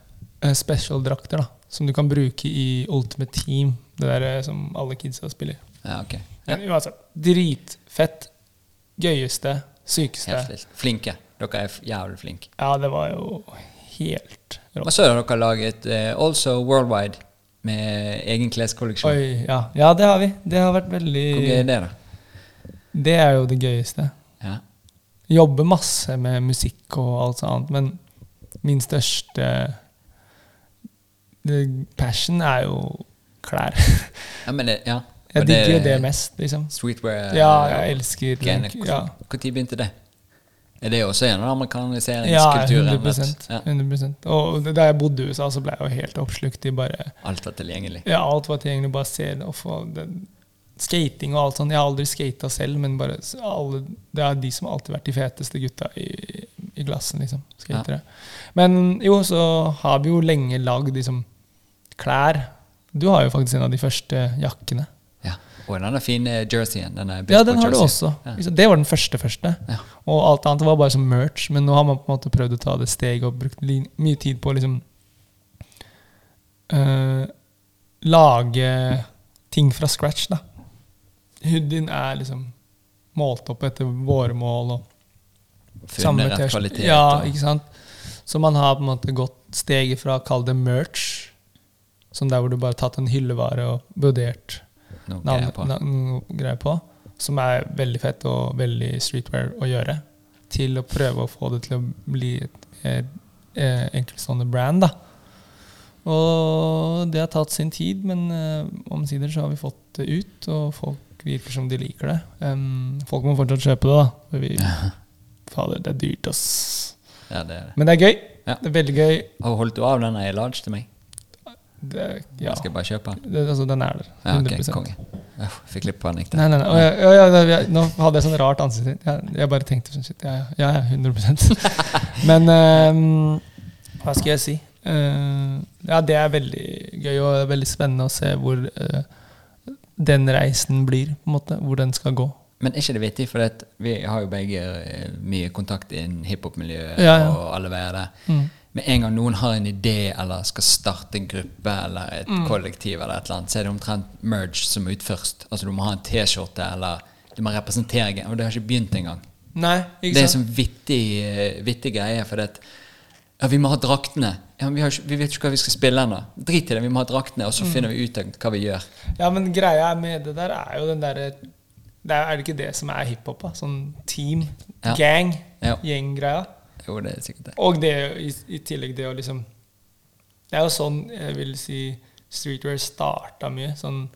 D: eh, special-drakter da, som du kan bruke i Ultimate Team, det der eh, som alle kidsa spiller.
C: Ja, ok.
D: Men Uansett, dritfett. Gøyeste. Sykeste.
C: Helt vilt. Flinke. Dere er f- jævlig flinke.
D: Ja, det var jo helt
C: Og
D: rått.
C: så har dere laget eh, Also Worldwide med egen kleskolleksjon.
D: Oi, ja. ja, det har vi. Det har vært veldig
C: Hvor gøy er det, da?
D: Det er jo det gøyeste.
C: Ja.
D: Jobber masse med musikk og alt sånt, men min største det, passion er jo klær.
C: ja, men det, ja.
D: Jeg
C: Og
D: digger jo det mest, liksom.
C: Streetwear.
D: Ja, jeg elsker det.
C: greiene.
D: Ja.
C: Hvor- Hvor tid begynte det? Er det også en av
D: Ja,
C: amerikaniseringskulturen? at-
D: 100,
C: Ja,
D: 100 Og da jeg bodde i USA, så ble jeg jo helt oppslukt i bare
C: alt var tilgjengelig.
D: Ja, alt var tilgjengelig. Bare se det og få den Skating og alt sånt. Jeg har aldri skata selv, men bare s- alle, det er de som har alltid vært de feteste gutta i, i klassen, liksom. Skatere. Men jo, så har vi jo lenge lagd liksom klær. Du har jo faktisk en av de første jakkene.
C: Ja. Og denne fine jerseyen. Denne
D: Ja, den har du
C: baseball-jerseyen.
D: også.
C: Ja.
D: Ikke sant? Det var den første første.
C: Ja.
D: Og alt annet var bare som merch, men nå har man på en måte prøvd å ta det steget og brukt li- mye tid på å liksom eh, Lage ting fra scratch, da. Hoodien er liksom målt opp etter våre mål og samme
C: Funnet rett
D: T-skjorte.
C: kvalitet.
D: Ja,
C: og-
D: ikke sant? Så man har på en måte gått steget fra å kalle det merch, som der hvor du bare har tatt en hyllevare og vurdert
C: Noe
D: navn,
C: greier på.
D: navn- greier på, som er veldig fett og veldig streetwear å gjøre, til å prøve å få det til å bli et, et, eh, enkeltstående brand. da. Og det har tatt sin tid, men eh, omsider så har vi fått det ut, og folk virker som de liker det. Em, folk må fortsatt kjøpe det, da. For vi, fader, det er dyrt, ass.
C: Ja, det er det.
D: Men det er gøy.
C: Ja.
D: Det er veldig gøy.
C: Og holdt du av den i large til meg?
D: Det, er- ja.
C: Jeg skal bare kjøpe den.
D: det, altså, den er der.
C: Ja, ok,
D: 100
C: konge. Uff, fikk litt panikk der.
D: Nei, nei, nei. Å, ja, ja, ja, nei, jeg- nå hadde jeg sånn rart ansikt. Jeg, jeg bare tenkte sånn shit. Ja, ja, ja, ja, 100 Men ehm, hva skal jeg si? Eh, ja, det er veldig gøy og det er veldig spennende å se hvor eh, den reisen blir, på en måte. Hvor den skal gå.
C: Men er ikke det vittig, for at vi har jo begge eh, mye kontakt innen hiphop-miljøet
D: Ja, ja.
C: og alle veier der.
D: Mm.
C: Med en gang noen har en idé eller skal starte en gruppe eller et
D: Mm.
C: kollektiv, eller et eller annet, så er det omtrent merge som er ut først. Altså du må ha en T-skjorte, eller du må representere Og det har ikke begynt engang.
D: Nei,
C: Det er en sånn vittig, eh, vittig greie, for at ja, vi må ha draktene. Ja, men vi, har ikke, vi vet ikke hva vi skal spille ennå. Drit i det, vi må ha draktene, og så
D: Mm.
C: finner vi ut av hva vi gjør.
D: Ja, men greia med det der er jo den derre det er, er det ikke det som er hiphop? da? Sånn team,
C: Ja.
D: gang,
C: Ja.
D: gjenggreia.
C: Jo, det er sikkert det.
D: Og det i, i tillegg det å liksom Det er jo sånn jeg vil si streetwear starta mye. Sånn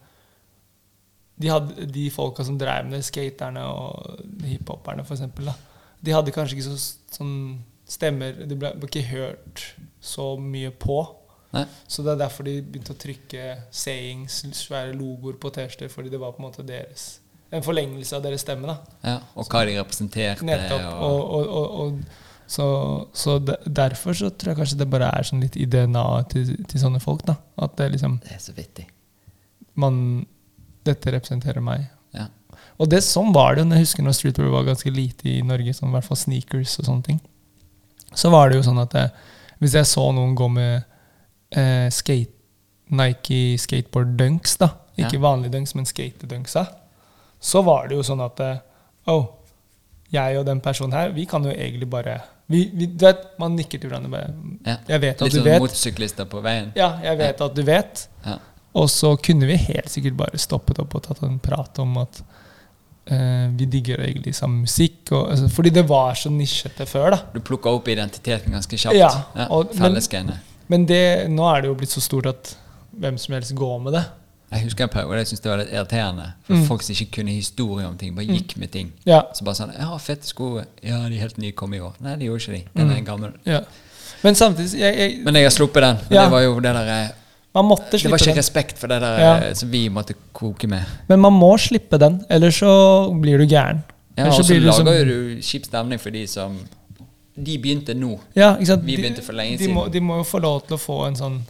D: De, hadde, de folka som drev med det, skaterne og hiphoperne, for eksempel, da, de hadde kanskje ikke så s- sånn stemmer De ble ble ikke hørt så mye på.
C: Nei?
D: Så det er derfor de begynte å trykke sayings, svære logoer på T-skjorter, fordi det var på en måte deres En forlengelse av deres stemme, da.
C: Ja, og hva de representerte.
D: Nettopp.
C: og-
D: Og, og, og, og, så så de, derfor så tror jeg kanskje det bare er sånn litt i DNA-et til, til sånne folk. da At det liksom
C: Det er så vittig.
D: man, Dette representerer meg.
C: Ja.
D: Og det sånn var det jo når jeg husker når streetwear var ganske lite i Norge, sånn, i hvert fall sneakers og sånne ting. Så var det jo sånn at eh, hvis jeg så noen gå med eh, skate, Nike skateboard dunks, da ikke
C: Ja.
D: vanlige dunks, men skatedunksa, så var det jo sånn at eh, oh, jeg og den personen her, vi kan jo egentlig bare vi, vi, du vet, Man nikker til hverandre bare
C: Ja.
D: Jeg vet at
C: Litt
D: du
C: sånn
D: vet.
C: motorsyklister på veien.
D: Ja, jeg vet at du vet.
C: Ja.
D: Og så kunne vi helt sikkert bare stoppet opp og tatt en prat om at eh, vi digger egentlig samme musikk. Og, altså, fordi det var så nisjete før, da.
C: Du plukker opp identiteten ganske kjapt.
D: Ja, og- men-
C: Fellesgreiene.
D: Men det, nå er det jo blitt så stort at hvem som helst går med det.
C: Jeg husker en periode jeg syntes det var litt irriterende. For
D: Mm.
C: Folk som ikke kunne historie om ting, bare gikk med ting.
D: Ja.
C: Så bare sånn Ja, fette sko. Ja, de er helt nye kom i år. Nei, de gjorde ikke de.
D: Mm.
C: Den er gammel.
D: ja. Men samtidig jeg, jeg,
C: Men jeg har sluppet den. Men
D: Ja.
C: det var jo det der eh,
D: Man måtte
C: Det var
D: slippe
C: ikke
D: den.
C: respekt for det der
D: Ja.
C: eh, som vi måtte koke med.
D: Men man må slippe den, ellers så blir du gæren.
C: Ja,
D: Ellers
C: og så
D: blir liksom du som-
C: lager jo du kjip stemning for de som De begynte nå.
D: Ja, ikke sant?
C: Vi begynte for lenge
D: de
C: siden.
D: Må, de må jo få lov til å få en sånn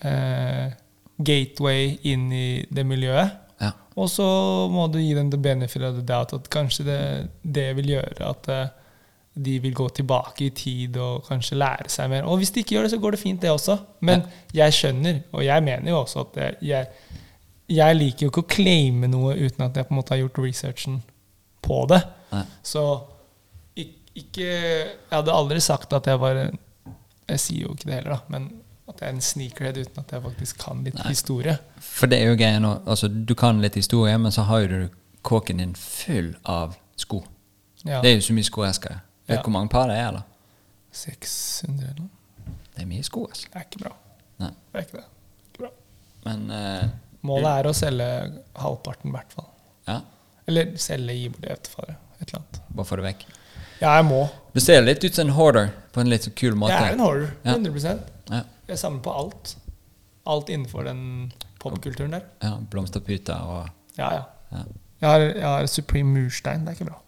D: eh, gateway inn i det miljøet.
C: Ja.
D: Og så må du gi dem the benefit of the doubt at kanskje det, det vil gjøre at eh, de vil gå tilbake i tid og kanskje lære seg mer. Og hvis de ikke gjør det, så går det fint, det også. Men jeg skjønner, og jeg mener jo også at jeg- jeg, jeg liker jo ikke å claime noe uten at jeg på en måte har gjort researchen på det.
C: Nei.
D: Så ik- ikke Jeg hadde aldri sagt at jeg var en Jeg sier jo ikke det heller, da, men at jeg er en sneakerhead uten at jeg faktisk kan litt historie.
C: For det er jo greia nå. Altså, du kan litt historie, men så har jo du kåken din full av sko.
D: Ja,
C: Det er jo så mye skoesker. Vet du
D: Ja.
C: hvor mange par det er, da?
D: 600 eller noe.
C: Det er mye sko, altså.
D: Det er ikke bra.
C: Nei.
D: Det er ikke det. Ikke bra.
C: Men eh,
D: Målet er å selge halvparten, i hvert fall.
C: ja,
D: Eller selge, gi bort det etterfare. Et eller annet.
C: bare få det vekk.
D: Ja, jeg må.
C: Du ser litt ut som en hoarder på en litt så kul måte.
D: Jeg er en horror.
C: Ja.
D: 100
C: Ja,
D: Jeg samler på alt. Alt innenfor den popkulturen der.
C: ja Blomsterputer og
D: Ja, ja.
C: ja.
D: Jeg har, jeg har Supreme murstein. Det er ikke bra.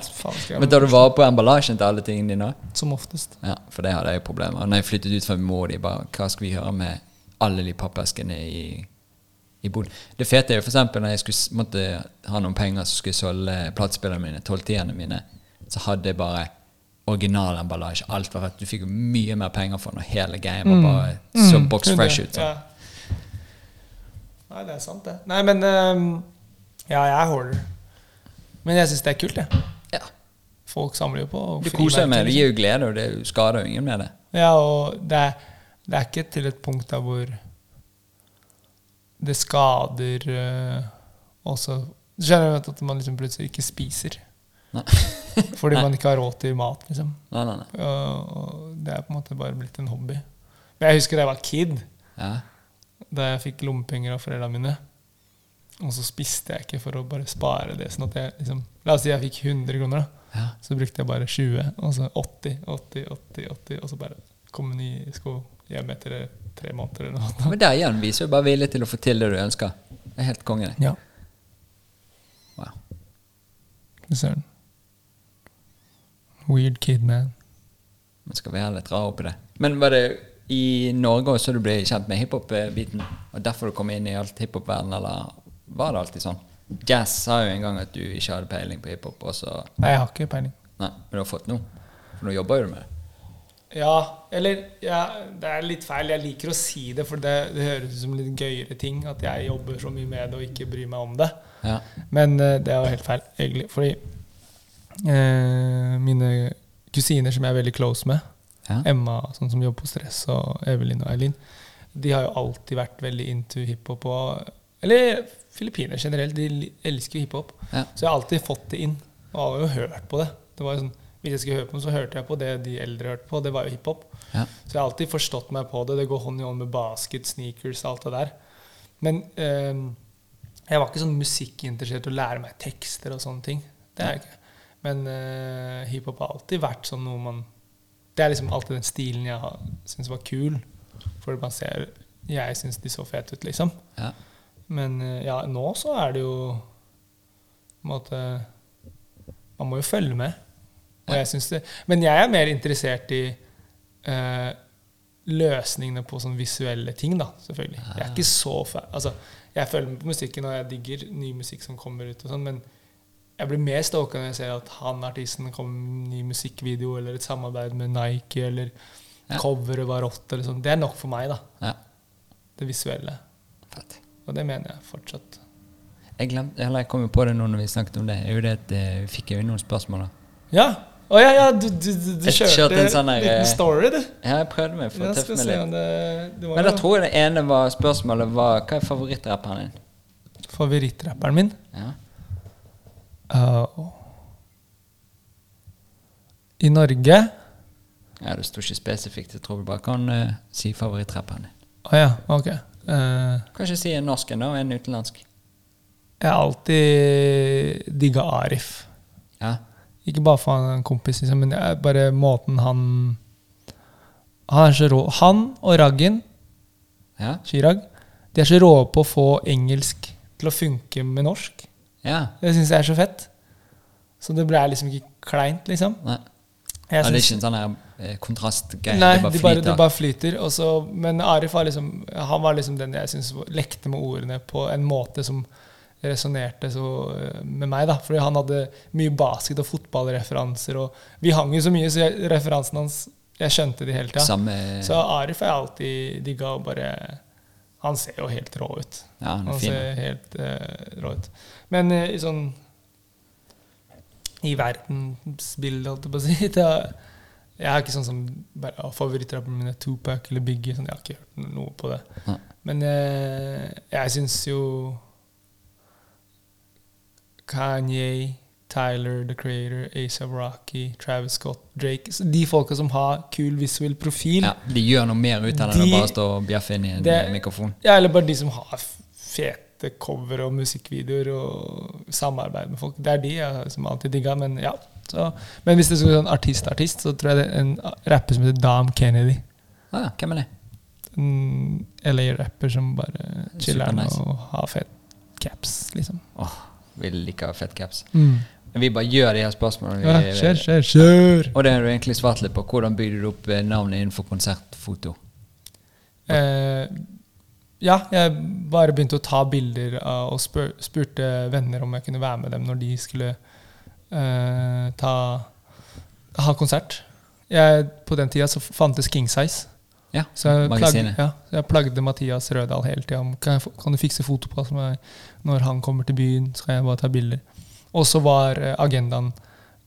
D: Faen, skal jeg-
C: Men tar du vare på emballasjen til alle tingene dine? også?
D: Som oftest.
C: Ja, for det hadde jeg jo problemer med. Når jeg flyttet ut fra min mor, de bare Hva skal vi gjøre med alle de pappeskene i, i boden? Det fete er jo for eksempel når jeg skulle, s- måtte ha noen penger så skulle jeg solge platespillerne mine, tolvtierne mine, så hadde jeg bare originalemballasje. Alt var rett. Du fikk jo mye mer penger for den, og hele greia var bare så box fresh ut. Sånn.
D: Mm. Ja. Nei, det er sant, det. Nei, men ehm, Ja, jeg er hoarder. Men jeg syns det er kult, jeg.
C: Ja.
D: Folk samler jo på
C: Du koser deg med det. Det
D: frimerker,
C: gir jo glede, og det skader jo ingen med det.
D: Ja, og det er, det er ikke til et punkt der hvor det skader eh, også Du skjønner jo at man liksom plutselig ikke spiser
C: Nei.
D: fordi man ikke har råd til mat, liksom.
C: Nei, nei, nei.
D: Og- og det er på en måte bare blitt en hobby. Men jeg husker da jeg var kid,
C: Ja.
D: da jeg fikk lommepenger av foreldrene mine. Og så spiste jeg ikke for å bare spare det. sånn at jeg liksom, La oss si jeg fikk 100 kroner. da.
C: Ja.
D: Så brukte jeg bare 20, og så 80, 80, 80, 80 og så bare kom en ny sko hjem etter tre måneder eller noe.
C: Men der igjen viser du bare vilje til å få til det du ønsker. Det er helt konge. det.
D: Ja,
C: Wow.
D: fy søren. Weird kid, man.
C: Men skal være litt rar oppi det. Men var det i Norge også du ble kjent med hiphop-biten? Og derfor du kom inn i alt hiphop-verden, eller var det alltid sånn? Jazz sa jo en gang at du ikke hadde peiling på hiphop, og så
D: Nei, jeg har ikke peiling.
C: Nei, men du har fått nå. For nå jobber jo du med det.
D: Ja, eller ja, Det er litt feil. Jeg liker å si det, for det, det høres ut som litt gøyere ting. At jeg jobber så mye med det og ikke bryr meg om det.
C: Ja.
D: Men eh, det er jo helt feil, egentlig. Fordi eh, mine kusiner som jeg er veldig close med,
C: Ja.
D: Emma, sånn som jobber på Stress, og Evelyn og Eileen, de har jo alltid vært veldig into hiphop. Og, eller filippinere generelt, de li- elsker jo hiphop.
C: Ja.
D: Så jeg har alltid fått det inn, og har jo hørt på det. det var jo sånn, hvis jeg skulle høre på noe, så hørte jeg på det de eldre hørte på, det var jo hiphop.
C: Ja.
D: Så jeg har alltid forstått meg på det. Det går hånd i hånd med basket, sneakers, alt det der. Men eh, jeg var ikke sånn musikkinteressert i å lære meg tekster og sånne ting. Det er jeg ikke. Men eh, hiphop har alltid vært sånn noe man Det er liksom alltid den stilen jeg har- syns var kul. For man ser Jeg syns de så fete ut, liksom.
C: ja.
D: Men eh, ja, nå så er det jo på en måte Man må jo følge med. Og jeg synes det, men jeg er mer interessert i eh, løsningene på sånne visuelle ting, da, selvfølgelig. Jeg er ikke så fa Altså, jeg følger med på musikken, og jeg digger ny musikk som kommer ut og sånn, men jeg blir mer stoka når jeg ser at han artisten kom med en ny musikkvideo, eller et samarbeid med Nike, eller
C: Ja.
D: coveret var rått, eller sånn. Det er nok for meg, da.
C: ja.
D: Det visuelle.
C: Fett.
D: Og det mener jeg fortsatt.
C: Jeg glemte, eller jeg kom jo på det nå når vi snakket om det, er jo det at eh, vi fikk jo inn noen spørsmål da.
D: Ja. Å ja, ja, du, du, du, du
C: Jeg
D: kjørte,
C: kjørte en
D: en
C: sånn der, eh,
D: liten story, du.
C: Ja, jeg prøvde meg for å
D: Jeg
C: tøffe
D: skal
C: meg
D: se
C: litt.
D: om det, det var
C: Men da
D: jo-
C: tror jeg det ene var spørsmålet var Hva er favorittrapperen din?
D: Favorittrapperen min?
C: Ja.
D: Uh, I Norge Å
C: ja, Det sto ikke spesifikt. Jeg tror du bare kan eh, si favorittrapperen din.
D: ja, ok. Eh,
C: Kanskje si en norsk en, da, og en utenlandsk.
D: jeg har alltid digga Arif.
C: Ja.
D: Ikke bare for han er en kompis, liksom, men jeg, bare måten han Han er så rå. Han og Raggin
C: Ja.
D: Chirag de er så rå på å få engelsk til å funke med norsk.
C: ja.
D: Det syns jeg er så fett. Så det ble liksom ikke kleint, liksom.
C: Nei.
D: Jeg
C: Ja, det er
D: synes-
C: ikke en sånn her, eh, kontrastgreie.
D: Nei,
C: det bare
D: det bare,
C: flyter.
D: det bare flyter. Og så, men Arif var liksom, han var liksom den jeg syns lekte med ordene på en måte som resonnerte så eh, med meg. da, Fordi han hadde mye basket- og fotballreferanser. og Vi hang jo så mye, så jeg, referansene hans Jeg skjønte de hele tida.
C: Samme
D: Så Arif har jeg alltid digga. og bare- Han ser jo helt rå ut.
C: Ja, han
D: Han
C: er fin.
D: ser helt eh, rå ut. Men eh, i sånn I verdensbildet, holdt jeg på å si det er, Jeg er ikke sånn som bare, ja, Favorittrapperne mine er Tupac eller Biggie. Sånn, jeg har ikke hørt noe på det.
C: Nei.
D: Men eh, jeg syns jo Kanye, Tyler, The Creator, Asa Rocky, Travis Scott, Drake så De folka som har kul visuell profil.
C: Ja, de gjør noe mer ut av det enn
D: De-
C: å bare stå og bjeffe inn i en
D: det-
C: eh, mikrofon.
D: Ja, eller bare de som har f- fete cover og musikkvideoer og samarbeid med folk. Det er de jeg som alltid digga, men ja. Så, men hvis det skulle være sånn artist-artist, så tror jeg det er en rapper som heter Dam Kennedy.
C: Ah, hvem er det?
D: En LA-rapper som bare chiller'n
C: Supernice.
D: og har fet caps, liksom.
C: Åh, vi liker fett caps. Vi bare gjør de her spørsmålene.
D: Ja,
C: vi- eh,
D: kjør, kjør, kjør!
C: Og det har du egentlig svart litt på. Hvordan bygde du opp eh, navnet innenfor konsertfoto?
D: Eh, ja, jeg bare begynte å ta bilder av, og spør, spurte venner om jeg kunne være med dem når de skulle eh, ta, ha konsert. Jeg, på den tida så fantes King Size.
C: Ja,
D: Så jeg, plagde,
C: magasinet.
D: ja, så jeg plagde Mathias Rødahl hele tida om kan, jeg, få- kan du fikse fotopass med meg når han kommer til byen. Så kan jeg bare ta bilder. Og så var eh, agendaen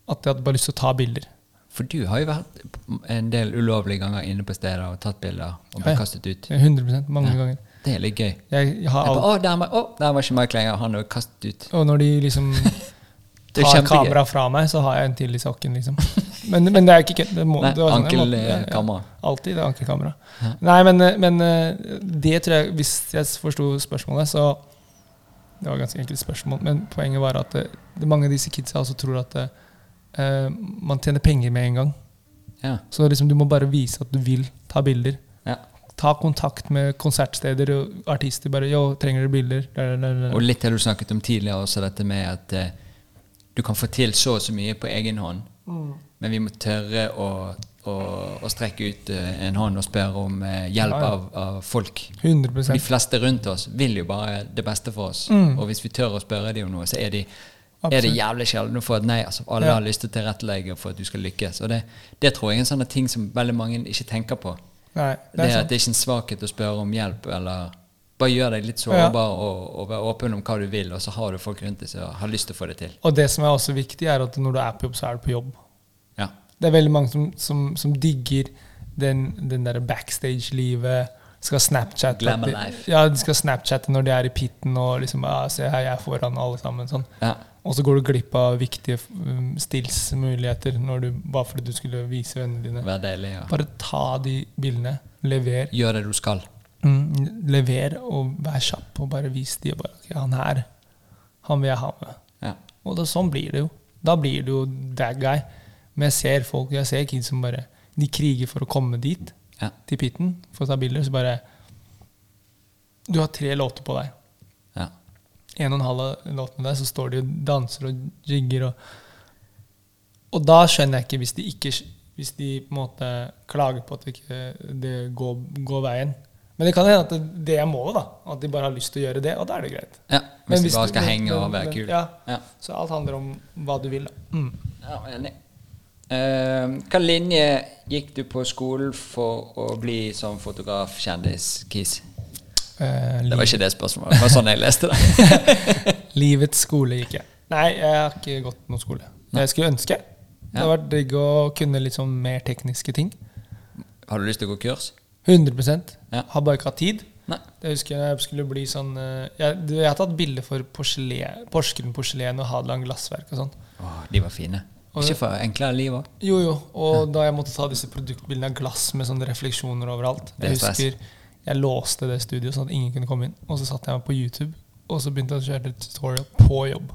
D: at jeg hadde bare lyst til å ta bilder.
C: For du har jo vært en del ulovlige ganger inne på steder og tatt bilder og
D: Ja,
C: blitt
D: ja.
C: kastet ut.
D: 100 mange ganger.
C: Det er litt gøy. Jeg
D: Jeg, jeg har
C: bare,
D: alt,
C: Å, der, var- å, der var ikke Mike lenger. Han er jo kastet ut.
D: og når de liksom
C: Det er
D: tar
C: kjempegøy.
D: kameraet fra meg, så har jeg en til i sokken, liksom. Men, men det er ikke kødd. Det må-
C: Nei, eh,
D: det var sånn jeg måtte- ja, ja.
C: Ankelkamera.
D: Alltid det er ankelkamera. Nei, men, men eh, det tror jeg Hvis jeg forsto spørsmålet, så Det var ganske enkelt spørsmål, men poenget var at eh, det, mange av disse kidsa også tror at eh, man tjener penger med en gang.
C: Ja.
D: Så liksom, du må bare vise at du vil ta bilder.
C: ja.
D: Ta kontakt med konsertsteder og artister. Bare 'Yo, trenger dere bilder?' Da, da, da, da.
C: Og litt det du snakket om tidligere, også dette med at eh, du kan få til så og så mye på egen hånd, men vi må tørre å, å, å strekke ut eh, en hånd og spørre om eh, hjelp
D: Ja, ja.
C: Av, av folk.
D: 100
C: De fleste rundt oss vil jo bare det beste for oss, og hvis vi tør å spørre dem om noe, så er de er det
D: Mm. Absolutt.
C: jævlig sjelden å få et nei. altså Alle
D: Ja.
C: har lyst til å tilrettelegge for at du skal lykkes. og Det, det tror jeg er en sånn ting som veldig mange ikke tenker på.
D: Nei, sånn.
C: Det er,
D: sant.
C: at det er ikke en svakhet å spørre om hjelp, eller bare gjør deg litt sårbar og, og vær åpen om hva du vil, og så har du folk rundt deg som har lyst til å få det til.
D: Og det som er også viktig, er at når du er på jobb, så er du på jobb.
C: Ja.
D: Det er veldig mange som, som, som digger den, den derre backstage-livet. Skal Snapchat
C: Glamour
D: at de-
C: life.
D: Ja, de skal Snapchatte når de er i pitten og liksom ja, 'Se her, jeg er foran alle sammen'. sånn.
C: Ja.
D: Og så går du glipp av viktige um, stillsmuligheter når du, bare fordi du skulle vise vennene dine.
C: Vær deilig og
D: Bare ta de bildene. Lever.
C: gjør det du skal.
D: Mm, lever og vær kjapp og bare vis de og bare ok, 'Han her, han vil jeg ha med'.
C: Ja.
D: Og da, sånn blir det jo. Da blir det jo that guy. Men jeg ser folk, jeg ser kids som bare De kriger for å komme dit,
C: Ja.
D: til pitten, for å ta bilder. Så bare Du har tre låter på deg.
C: Ja.
D: En og en halv låt med deg, så står de og danser og jigger og Og da skjønner jeg ikke, hvis de ikke Hvis de på en måte klager på at det ikke det går, går veien. Men det kan hende at det- det er målet, da. At de bare har lyst til å gjøre det, og da er det greit.
C: ja.
D: Men
C: Hvis,
D: hvis
C: du bare
D: du-
C: skal
D: men-
C: henge og
D: men-
C: være
D: men-
C: kul.
D: ja.
C: Ja.
D: Så alt handler om hva du vil, da. Mm.
C: Ja, enig. Uh, hva linje gikk du på skolen for å bli som fotograf, kjendis, kis?
D: Eh,
C: Det
D: liv-
C: var ikke det spørsmålet, det var sånn jeg leste det.
D: Livets skole gikk jeg. Nei, jeg har ikke gått noen skole. Jeg skulle ønske. Det har vært digg å kunne litt sånn mer tekniske ting.
C: Har du lyst til å gå kurs?
D: 100
C: Ja.
D: Har bare ikke hatt tid.
C: Nei.
D: Det husker jeg skulle bli sånn eh, Jeg, du, jeg har tatt bilder for porselen, Porsgrunn porselen og Hadeland glassverk og sånn.
C: Åh, de var fine.
D: Og-
C: Ikke for enklere liv òg.
D: Jo, jo. Og da jeg måtte ta disse produktbildene av glass med sånne refleksjoner overalt
C: Det er
D: Jeg husker jeg låste det studioet sånn at ingen kunne komme inn. Og så satte jeg meg på YouTube, og så begynte jeg å kjøre et tutorial på jobb.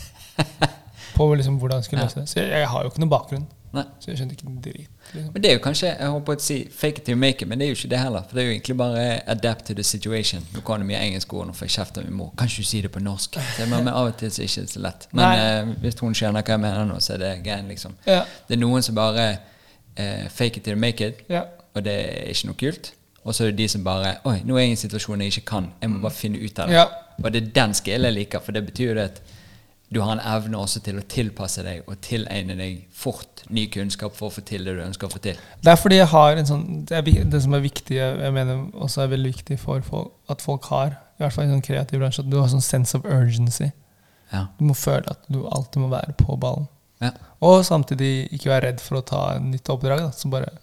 D: På liksom hvordan jeg skulle
C: Ja.
D: løse det. Så jeg, jeg har jo ikke noen bakgrunn.
C: Nei.
D: Så jeg skjønte ikke en drit. Liksom.
C: Men det er jo kanskje jeg håper å si fake it till you make it, men det er jo ikke det heller. For det er jo egentlig bare adapt to the situation. Nå kan du mye engelsk ord, nå får jeg kjeft av min mor. Kan ikke du si det på norsk? Så, men, men av og til så er det ikke så lett. Men eh, hvis hun skjønner hva jeg mener nå, så er det greien, liksom.
D: Ja.
C: Det er noen som bare eh, fake it till you make it,
D: Ja.
C: og det er ikke noe kult. Og så er det de som bare Oi, nå er jeg i en situasjon jeg ikke kan. Jeg må bare finne ut av det.
D: Ja.
C: Og det er den skillen jeg liker, for det betyr jo det at du har en evne også til å tilpasse deg og tilegne deg fort ny kunnskap for å få til det du ønsker å få til.
D: Det er fordi jeg har en sånn Det, er, vi- det som er viktig, jeg jeg mener også er veldig viktig for folk, at folk har, i hvert fall i en sånn kreativ bransje, at du har sånn sense of urgency.
C: Ja.
D: Du må føle at du alltid må være på ballen.
C: Ja.
D: Og samtidig ikke være redd for å ta et nytt oppdrag. Da. Så bare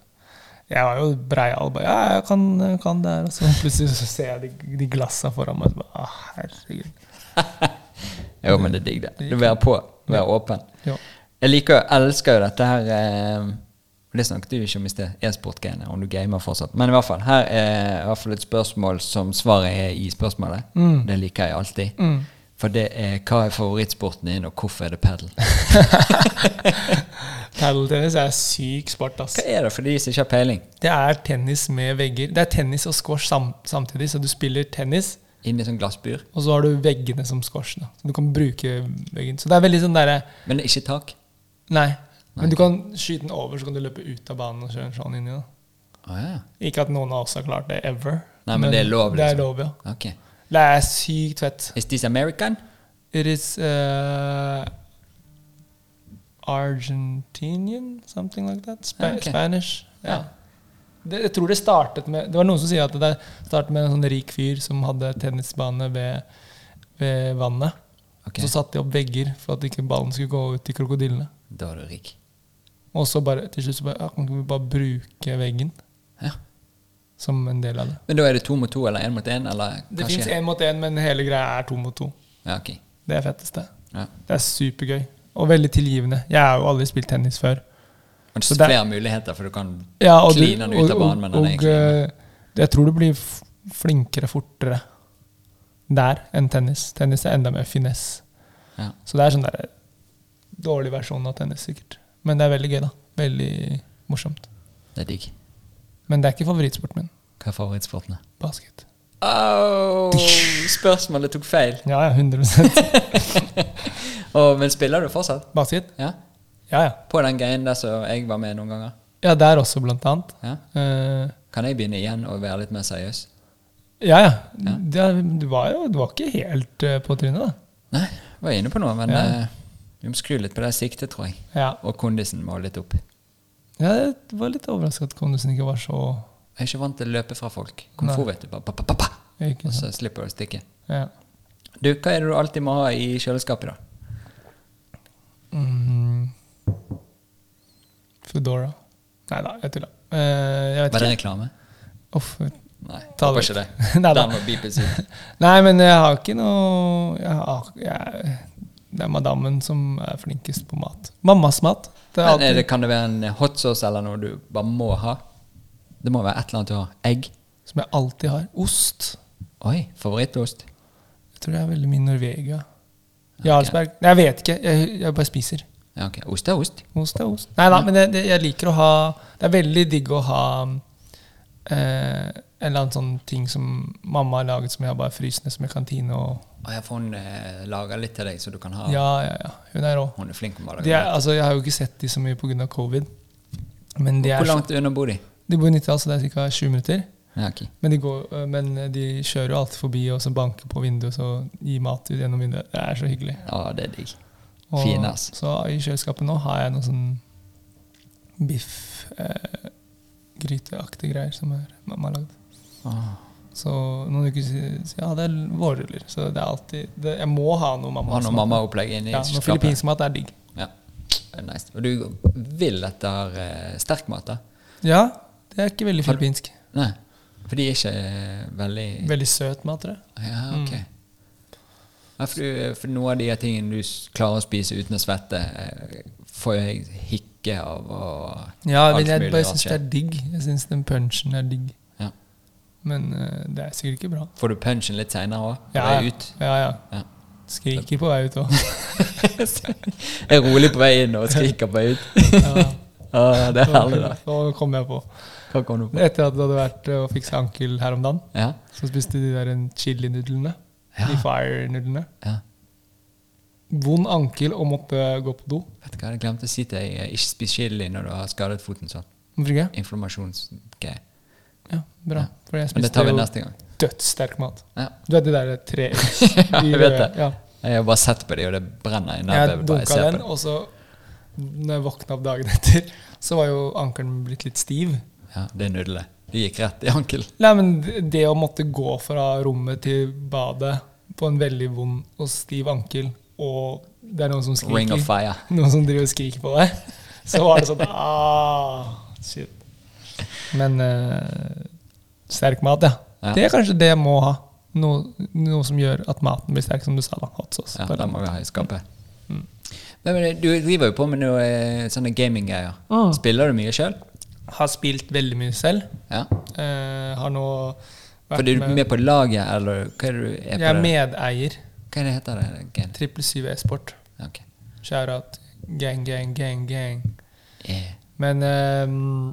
D: Jeg var jo breial. Bare, ja, jeg kan, jeg kan det her. Og så plutselig så ser jeg de, de glassa foran meg. Og så bare, ah, herregud.
C: Jo, men det er digg, det. Du være på, være åpen.
D: Ja.
C: Jeg liker, jeg elsker jo dette her eh, Det snakket du ikke om i sted, e-sport-greiene, om du gamer fortsatt. Men i hvert fall, her er i hvert fall et spørsmål som svaret er i spørsmålet. Det liker jeg alltid.
D: Mm.
C: For det er hva er favorittsporten din, og hvorfor er det padel?
D: Padeltennis er syk sport, ass.
C: Hva er det for de som ikke har peiling?
D: Det er tennis med vegger. Det er tennis og squash sam samtidig, så du spiller tennis,
C: Inni sånn glassbur,
D: og så har du veggene som squash. Da. Så du kan bruke veggen. Så det er veldig sånn derre
C: men ikke tak?
D: Nei. Men du kan skyte den over, så kan du løpe ut av banen og kjøre en sånn inni. da.
C: Å ja.
D: Ikke at noen av oss har klart det ever.
C: Nei, men det er lov,
D: Det
C: liksom.
D: er lov, ja.
C: Ok.
D: Det er sykt fett.
C: Is this American?
D: It is uh, Argentinian, something like that. Spa
C: Ja, ok.
D: Spanish. Ja.
C: Ja.
D: Det, jeg tror det startet med Det var noen som sier at det startet med en sånn rik fyr som hadde tennisbane ved, ved vannet.
C: Ok,
D: Så satte de opp vegger for at ikke ballen skulle gå ut til krokodillene.
C: Da er du rik.
D: Og så bare til slutt så bare ja, Kan ikke vi bare bruke veggen
C: Ja.
D: som en del av det?
C: Men da er det to mot to eller én mot én, eller
D: Det fins
C: kanskje
D: én mot én, men hele greia er to mot to.
C: Ja, ok.
D: Det er fetteste.
C: Ja.
D: Det er supergøy. Og veldig tilgivende. Jeg har jo aldri spilt tennis før.
C: Men
D: Så
C: det
D: det-
C: er flere muligheter, for du kan
D: Ja, og du-
C: kline den ut av
D: og-
C: banen. Men den
D: og,
C: er egentlig inne.
D: eh, jeg tror du blir f- flinkere fortere der enn tennis. Tennis er enda mer finess.
C: Ja.
D: Så det er sånn der dårlig versjon av tennis, sikkert. Men det er veldig gøy, da. Veldig morsomt.
C: Det er digg.
D: Men det er ikke favorittsporten min.
C: Hva er favorittsporten?
D: Basket.
C: Au! spørsmålet tok feil.
D: Ja, ja, 100
C: Å, men spiller du fortsatt?
D: Basket?
C: Ja?
D: Ja, ja.
C: På den greien der som jeg var med noen ganger?
D: Ja, der også, blant annet.
C: Ja?
D: Eh,
C: Kan jeg begynne igjen og være litt mer seriøs?
D: ja, ja. Det, du var jo du var ikke helt eh, på trynet, da.
C: Nei, jeg var inne på noe, men
D: Ja.
C: eh, vi må skru litt på det siktet, tror jeg.
D: Ja.
C: Og kondisen må litt opp.
D: Ja, jeg var litt overraska at kondusen ikke var så
C: Jeg er ikke vant til å løpe fra folk. Komfort, vet du. Bare, pa, pa, pa, pa.
D: ikke
C: Og
D: sant?
C: så slipper du å stikke.
D: Ja.
C: Du, hva er det du alltid må ha i kjøleskapet, da?
D: Mm. Foodora. Nei da, jeg tulla. Eh, jeg vet
C: Var det
D: ikke.
C: reklame?
D: Uff.
C: Nei,
D: Ta
C: håper
D: det
C: ikke det.
D: Nei da.
C: Den må beepes ut.
D: Nei, men jeg har ikke noe jeg har, jeg, Det er madammen som er flinkest på mat. Mammas mat. Det
C: Men
D: er
C: er
D: alltid
C: det, kan det være en eh, hot sauce eller noe du bare må ha? Det må være et eller annet du har. Egg.
D: som jeg alltid har. Ost.
C: Oi, favorittost.
D: Jeg tror det er veldig mye Norvegia.
C: Ok.
D: Jarlsberg. Nei, Jeg vet ikke. Jeg, jeg bare spiser.
C: Ja, ok. Ost er ost.
D: Ost er ost. Nei da, men det, det, jeg liker å ha Det er veldig digg å ha eh, en eller annen sånn ting som mamma har laget som jeg har bare frysende som i kantina og
C: Og jeg får hun eh, lager litt til deg, så du kan ha.
D: Ja, ja, ja. Hun er rå.
C: Hun er flink på å
D: De
C: lage
D: er, altså, jeg har jo ikke sett de så mye pga. covid. Men de,
C: Hvor
D: er, så-
C: langt unna bor de?
D: de bor i Nittedal, så det er ca. 20 minutter.
C: Ja, ok.
D: Men de, går, eh, men de kjører jo alltid forbi og så banker på vinduet og så gir mat ut gjennom vinduet. Det er så hyggelig.
C: Ja, det er digg.
D: Og,
C: Fin, ass.
D: Så i kjøleskapet nå har jeg noe sånn biff eh, gryteaktig greier som er mamma har lagd.
C: Åh.
D: Så noen uker siden så Ja, det er vårruller. Så det er alltid det, Jeg må ha noe mamma.
C: Har noe mammaopplegg inni
D: ja, noe
C: kjøleskapet?
D: filippinsk mat er digg.
C: Ja. Det er Nice. Og du vil etter eh, sterkmat, da?
D: Ja, det er ikke veldig filippinsk.
C: Nei. For de er ikke eh, veldig
D: Veldig søt mat, tror jeg.
C: Ja,
D: Mm.
C: ok. Ja, for, du, for noen av de her tingene du s- klarer å spise uten å svette, eh, får jeg hikke av og
D: Ja,
C: alt
D: men jeg
C: mulig
D: bare
C: rart
D: syns det er
C: skjer.
D: digg. Jeg syns den punchen er digg.
C: Ja.
D: Men eh, det er sikkert ikke bra.
C: Får du punchen litt seinere òg?
D: Ja, ja.
C: ut?
D: ja,
C: Ja.
D: ja. Skriker på vei ut òg.
C: Jeg er rolig på vei inn og skriker på vei ut.
D: Ja,
C: Ah, det er herlig, da.
D: Nå kom jeg på.
C: Hva kom du på?
D: Etter at du hadde vært eh, og fiksa ankel her om dagen,
C: Ja,
D: så spiste de der en chili-nudlene.
C: Ja.
D: De fire-nudlene.
C: ja.
D: Vond ankel og måtte gå på do.
C: Vet du hva, jeg glemte å si til deg, eh, ikke spis chili når du har skadet foten sånn.
D: Hvorfor ikke?
C: Inflammasjonsgreie.
D: Ja, bra. For jeg
C: Men det tar
D: spiste
C: vi
D: jo
C: neste gang.
D: dødssterk mat.
C: Ja.
D: Du vet de der tre
C: Ja, jeg vet det.
D: Ja.
C: Jeg har bare sett på det, og det brenner i nebbet.
D: Jeg
C: bare jeg
D: dunka
C: ser
D: den,
C: på det.
D: og så når jeg våkna opp dagen etter, så var jo ankelen blitt litt stiv.
C: Ja, det er nudler. Det gikk rett i ankel.
D: Nei, men det å måtte gå fra rommet til badet på en veldig vond og stiv ankel, og det er noen som
C: Ring of
D: skriker,
C: fire.
D: noen som driver og skriker på deg, så var det sånn ah, shit. Men eh, sterk mat, ja.
C: Ja.
D: Det er kanskje det jeg må ha. Noe, noe som gjør at maten blir sterk, som du sa. da, hot sauce.
C: Ja,
D: Bare-
C: det må vi ha i skapet.
D: Mm.
C: Men, men du driver jo på med noe eh, sånne gaminggreier.
D: Mm.
C: Spiller du mye sjøl?
D: Har spilt veldig mye selv.
C: Ja.
D: Eh, har nå vært
C: For du er
D: med,
C: med på laget, eller hva er det du er
D: Jeg er
C: på? det?
D: medeier.
C: Hva er det heter det? Gen?
D: 777 e-sport.
C: Ok.
D: Shout-out. Gang, gang, gang, gang.
C: Eh,
D: Men eh,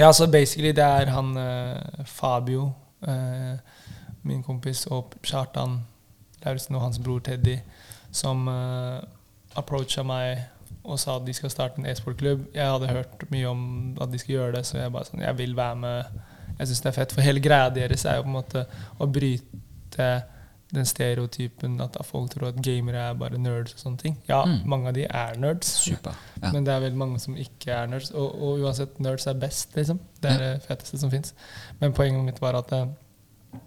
D: Ja, så basically det er han eh, Fabio, eh, min kompis, og Kjartan Lauritzen og hans bror Teddy, som eh, approacha meg og sa at de skal starte en e-sportklubb. Jeg hadde hørt mye om at de skulle gjøre det, så jeg bare sånn Jeg vil være med. Jeg syns det er fett. For hele greia deres er jo på en måte å bryte den stereotypen at folk tror at gamere er bare nerds og sånne ting. Ja,
C: Mm.
D: mange av de er nerds.
C: super. Ja.
D: Men det er veldig mange som ikke er nerds. Og, og uansett, nerds er best, liksom. Det er det feteste som fins. Men poenget mitt var at eh,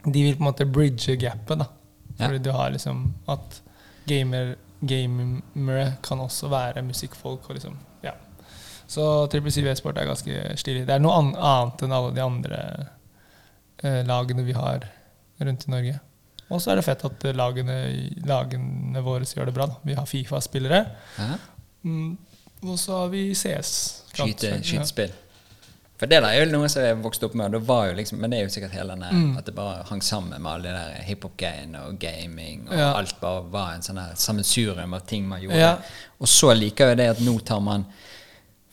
D: de vil på en måte bridge gapet, da.
C: Ja.
D: Fordi du har liksom at gamer, gamere kan også være musikkfolk og liksom Ja. Så 777 e-sport er ganske stilig. Det er noe an annet enn alle de andre eh, lagene vi har rundt i Norge. Og så er det fett at eh, lagene, lagene våre gjør det bra. Da. Vi har Fifa-spillere.
C: Ja.
D: Mm. Og så har vi CS.
C: Skyte,
D: Kampsak, ja.
C: skytespill. For det der er jo noe som jeg vokste opp med, og det var jo liksom, men det er jo sikkert hele denne,
D: Mm.
C: at det bare hang sammen med alle de der hiphop-greiene og gaming, og
D: Ja.
C: alt bare var en sånn her sammensurium av ting man gjorde.
D: Ja.
C: Og så liker jeg det at nå tar man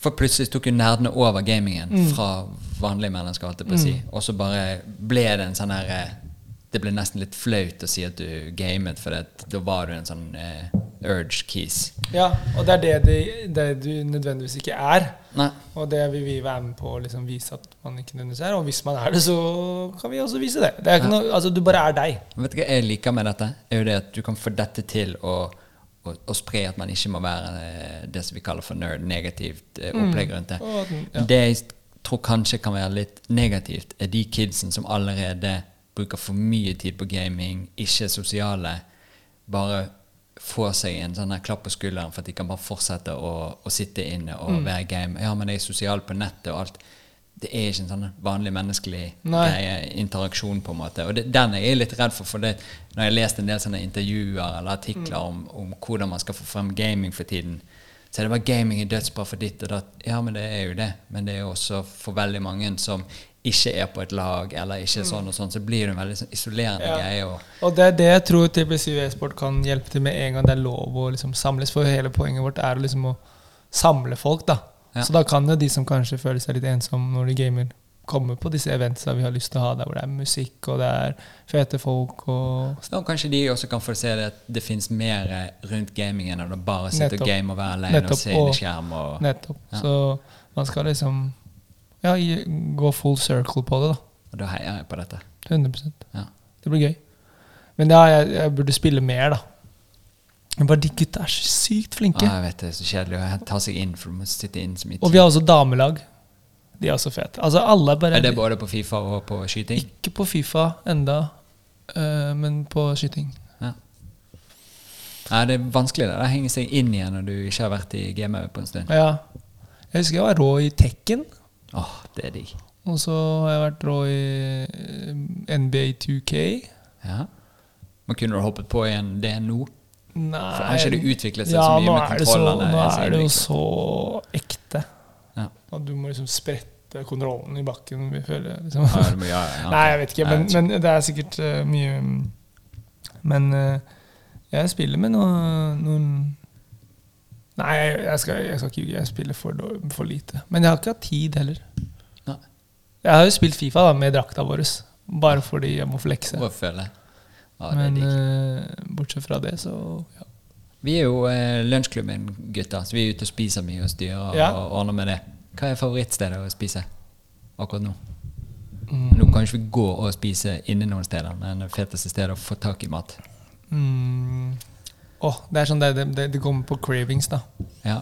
C: For plutselig tok jo nerdene over gamingen
D: Mm.
C: fra vanlige mennesker, holdt jeg på å si, og så bare ble det en sånn her eh, det ble nesten litt flaut å si at du gamet, for det, da var du en sånn eh, urge keys.
D: Ja, og det er det, de, det du nødvendigvis ikke er.
C: Nei.
D: Og det vil vi være med på å liksom vise at man ikke nødvendigvis er. Og hvis man er det, så kan vi også vise det. det er ikke noe, altså, du bare er deg.
C: Vet du hva jeg liker med dette? Er jo det at du kan få dette til å, å, å spre at man ikke må være eh, det som vi kaller for nerd, negativt eh, opplegg rundt det.
D: Og at den- Mm. ja.
C: Det jeg tror kanskje kan være litt negativt, er de kidsen som allerede bruker for mye tid på gaming, ikke er sosiale, bare får seg en sånn her klapp på skulderen for at de kan bare fortsette å, å sitte inne og
D: Mm.
C: være game. Ja, men jeg er sosial på nettet og alt. Det er ikke en sånn vanlig menneskelig
D: Nei.
C: greie eh, interaksjon, på en måte. Og det, den er jeg litt redd for, for det, når jeg har lest en del sånne intervjuer eller
D: Mm.
C: artikler om, om hvordan man skal få frem gaming for tiden, så er det bare gaming er dødsbra for ditt og datt. Ja, men det er jo det. Men det er jo også for veldig mange som ikke er på et lag, eller ikke sånn og sånn, så blir det en veldig sånn isolerende
D: Mm. Ja.
C: greie. Og,
D: Og det er det jeg tror TPCU e-sport kan hjelpe til med en gang det er lov å liksom samles. For hele poenget vårt er liksom å samle folk, da.
C: Ja.
D: Så da kan jo de som kanskje føler seg litt ensomme når de gamer, komme på disse eventsa vi har lyst til å ha, der hvor det er musikk og det er fete folk og
C: så kanskje de også kan få se det at det finnes mer eh, rundt gaming enn å bare sitte
D: Nettopp.
C: og game og være alene
D: Nettopp,
C: og se inn
D: og-
C: i skjerm. Og,
D: Nettopp.
C: Ja.
D: Så man skal liksom ja, gi- gå full circle på det, da.
C: og da heier jeg på dette.
D: 100
C: Ja.
D: Det blir gøy. Men ja, jeg, jeg burde spille mer, da. Men bare de gutta er så sykt flinke.
C: Ja, Ah, jeg vet det er så kjedelig å ta seg inn, for du må sitte inn så mye
D: Og vi har også damelag. De er også fete. Altså alle bare
C: Er det både på Fifa og på skyting?
D: Ikke på Fifa enda, eh, men på skyting.
C: Ja. Nei, det er vanskelig det. Det henger seg inn igjen når du ikke har vært i gamet på en stund.
D: Ja. Jeg husker jeg var rå i Tekken.
C: Åh, det er digg.
D: Og så har jeg vært rå i eh, NBA 2K.
C: Ja. Men kunne du hoppet på igjen det nå?
D: Nei
C: For har ikke det utviklet seg
D: ja,
C: så mye
D: nå
C: med
D: er det så-
C: kontrollene?
D: Nå
C: siden
D: er det
C: vi
D: jo
C: ikke-
D: så ekte.
C: Ja.
D: At du må liksom sprette kontrollen i bakken. Vi føler, liksom.
C: Ja, du må gjøre det, ja.
D: Nei, jeg vet ikke,
C: Nei,
D: men, men det er sikkert eh, mye mm, Men eh, jeg spiller med noen, noen Nei, jeg, jeg, skal, jeg skal ikke ljuge. Jeg spiller for, dår- for lite. Men jeg har ikke hatt tid heller.
C: Nei.
D: Jeg har jo spilt Fifa da, med drakta vår, bare fordi jeg må flekse.
C: Hva føler jeg? Ja, det er
D: men
C: digg.
D: eh, bortsett fra det, så ja.
C: Vi er jo eh, lunsjklubben, gutter, så vi er ute og spiser mye og styrer
D: Ja.
C: og ordner med det. Hva er favorittstedet å spise akkurat nå?
D: Mm.
C: Nå kan ikke vi gå og spise inne noen steder, men det feteste stedet å få tak i mat.
D: Mm. Åh, det er sånn det, det, det, det kommer på cravings, da.
C: Ja.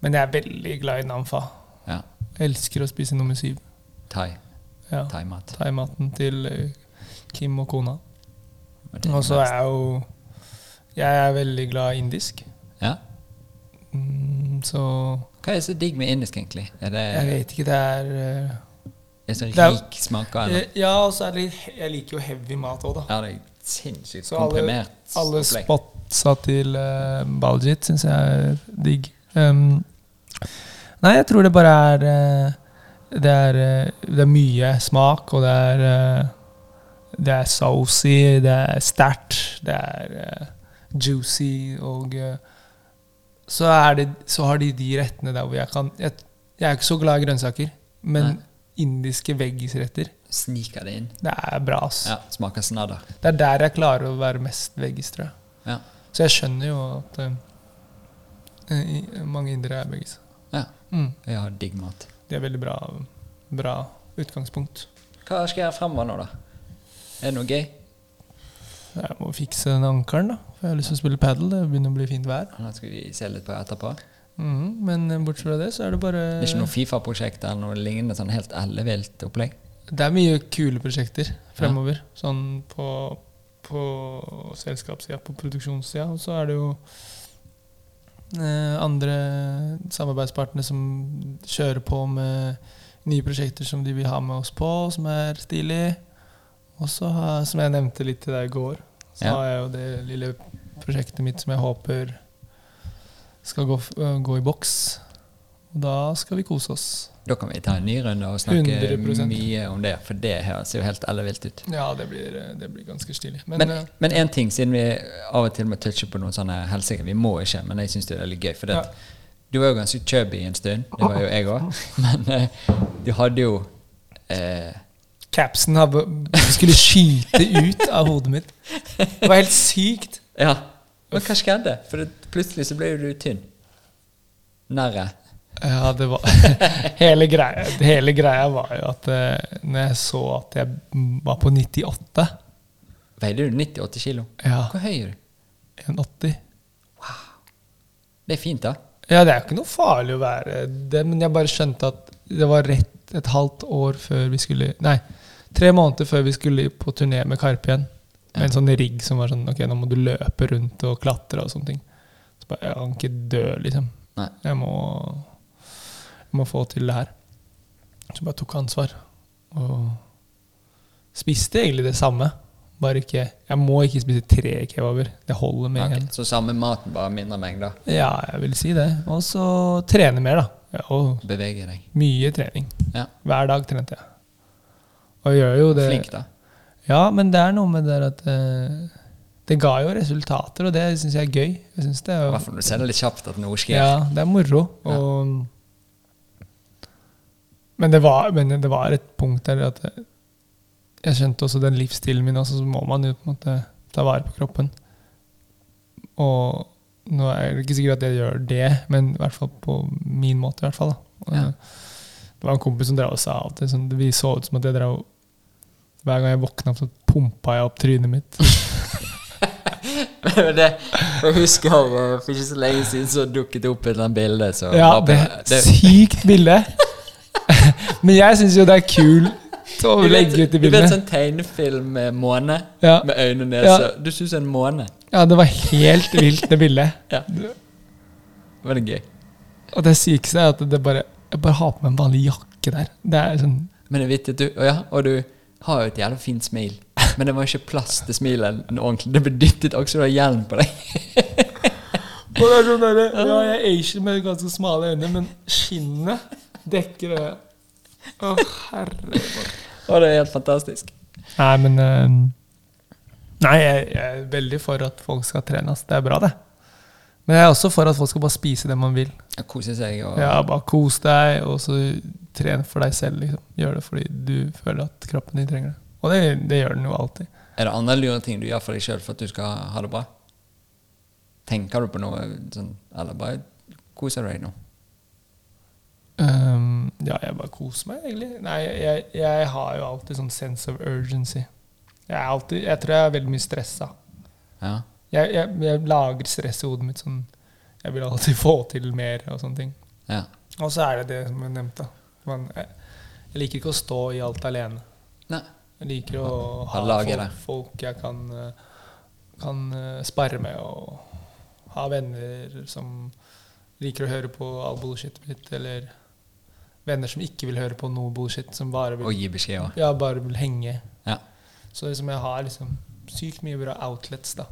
D: Men jeg er veldig glad i Namfa.
C: ja.
D: Jeg elsker å spise nummer syv.
C: Thai.
D: Ja.
C: Thai-mat.
D: Thaimaten til eh, Kim og kona.
C: Og det er
D: Og så
C: best.
D: er jeg jo Jeg er veldig glad i indisk.
C: Ja.
D: Mm, så
C: Hva er så digg med indisk, egentlig? Er det
D: jeg vet ikke, det er eh,
C: er så
D: det er-
C: rik smaker, eller?
D: eh, Ja, og så er det litt Jeg liker jo heavy mat òg, da.
C: Ja, det er sinnssykt
D: Så alle-
C: komprimert.
D: Alle
C: opplegg.
D: spotsa til eh, Baljit syns jeg er digg. Um, nei, jeg tror det bare er eh, det er, eh, det er mye smak, og det er eh, Det er saucy, det er sterkt, det er eh, juicy, og eh, så, er det, så har de de rettene der hvor jeg kan Jeg, jeg er ikke så glad i grønnsaker, men
C: Nei.
D: indiske veggisretter,
C: Sniker det inn.
D: det er bra, ass.
C: Ja, Smaker snadder.
D: Det er der jeg klarer å være mest veggis, tror jeg.
C: Ja.
D: Så jeg skjønner jo at eh, i- mange indere er veggis.
C: ja.
D: Mm.
C: Jeg har digg mat.
D: De er veldig bra, bra utgangspunkt.
C: Hva skal jeg gjøre fremover nå, da? Er det noe gøy?
D: Jeg må fikse den ankelen, da. For jeg har lyst til å spille padel. Det begynner å bli fint vær.
C: Den skal vi se litt på etterpå.
D: Mhm, Men eh, bortsett fra det, så er det bare
C: Det er ikke noe Fifa-prosjekt eller noe lignende sånn helt ellevilt opplegg?
D: Det er mye kule prosjekter fremover. Sånn på, på selskapssida, på produksjonssida. Og så er det jo eh, andre samarbeidspartnere som kjører på med nye prosjekter som de vil ha med oss på, som er stilig. Og så har, som jeg nevnte litt til deg i går, så
C: Ja.
D: har jeg jo det lille prosjektet mitt som jeg håper skal gå, f- øh, gå i boks. Og da skal vi kose oss.
C: Da kan vi ta en ny runde og snakke
D: 100%.
C: mye om det, for det her ser jo helt ellevilt ut.
D: Ja, det blir, eh, det blir ganske stilig. Men,
C: Men
D: eh,
C: men én ting, siden vi av og til må touche på noen sånne helse Vi må ikke, men jeg syns det er litt gøy. For det, at du var jo ganske chubby en stund. Det var jo jeg òg. Men eh, du hadde jo eh,
D: Capsen hadde, skulle skyte ut av hodet mitt. Det var helt sykt.
C: Ja. Men hva skjedde? For det, plutselig så ble jo du tynn. Nære.
D: Ja, det var hele greia, hele greia var jo at eh, når jeg så at jeg var på 98
C: Veide du 98 kilo?
D: Ja,
C: Hvor høy er du?
D: 180
C: Det er fint, da.
D: Ja, det er jo ikke noe farlig å være det, men jeg bare skjønte at det var rett et halvt år før vi skulle Nei, tre måneder før vi skulle på turné med Karpe igjen. Med en sånn rigg som var sånn Ok, nå må du løpe rundt og klatre og sånne ting. Så bare, jeg kan ikke dø, liksom.
C: Nei.
D: Jeg må, jeg må få til det her. Så bare tok ansvar. Og spiste egentlig det samme. Bare ikke Jeg må ikke spise tre kebaber. Det holder med én.
C: Ok, Så samme maten, bare mindre mengder.
D: Ja, jeg vil si det. Og så trene mer, da. Ja, og
C: Bevege deg.
D: mye trening.
C: Ja.
D: Hver dag trente jeg. Og jeg gjør jo det
C: Flink, da.
D: Ja, men det er noe med det der at eh, Det ga jo resultater, og det syns jeg er gøy. Jeg synes det
C: I
D: er,
C: hvert fall når du ser det litt kjapt at noe skjer.
D: ja, det er moro.
C: Ja.
D: Og, men, det var, men det var et punkt der at eh, jeg skjønte også den livsstilen min, også, så må man jo på en måte ta vare på kroppen. Og nå er det ikke sikkert at jeg gjør det, men i hvert fall på min måte. i hvert fall. Da. Og,
C: Ja.
D: Det var en kompis som drev og sa alltid sånn, Vi så ut som at jeg drev Hver gang jeg våkna opp, så pumpa jeg opp trynet mitt.
C: Men det, jeg husker eh, for ikke så lenge siden så dukket det opp et eller annet bilde. Så
D: Ja,
C: var på-
D: det er et sykt bilde! Men jeg syns jo det er kult å
C: du vet,
D: legge ut i
C: du vet
D: bildet.
C: sånn tegnefilm med måne?
D: Ja.
C: Med øyne og nese?
D: Ja.
C: Du syns en måne?
D: Ja, det var helt vilt, det bildet.
C: Ja. Var det gøy?
D: Og det sykeste er at det bare jeg bare har på meg en vanlig jakke der. Det er sånn
C: Men det er vittig, du. Og, ja, og du har jo et jævla fint smil. Men det var ikke plass til smilet nå ordentlig. Det ble dyttet akkurat som du har hjelm på deg.
D: Og det er sånn der, ja, jeg er asian med ganske smale øyne, men skinnet dekker øyet. Å, herre
C: Og det er helt fantastisk.
D: Nei, men eh, Nei, jeg, jeg er veldig for at folk skal trene. ass. Det er bra, det. Men jeg er også for at folk skal bare spise det man vil.
C: Jeg koser seg. Og,
D: Ja, Bare kos deg, og så tren for deg selv. liksom. Gjør det fordi du føler at kroppen din trenger det. Og det, det gjør den jo alltid.
C: Er det andre lure ting du gjør for deg sjøl for at du skal ha det bra? Tenker du på noe sånn Eller bare koser du deg nå?
D: Ehm, ja, jeg bare koser meg, egentlig. Nei, jeg, jeg har jo alltid sånn sense of urgency. Jeg, er alltid, jeg tror jeg er veldig mye stressa.
C: Ja.
D: Jeg, jeg, jeg lager stress i hodet mitt sånn Jeg vil alltid få til mer og sånne ting.
C: ja.
D: Og så er det det som jeg nevnte. Man, jeg, jeg liker ikke å stå i alt alene.
C: Nei.
D: Jeg liker å
C: Ha
D: ha
C: laget
D: folk,
C: der.
D: folk jeg kan, eh, kan eh, spare med, og ha venner som liker å høre på all bullshit mitt, eller venner som ikke vil høre på noe bullshit, som bare
C: Og
D: vil,
C: gi beskjed òg.
D: ja, bare vil henge.
C: Ja.
D: Så liksom jeg har liksom sykt mye bra outlets, da.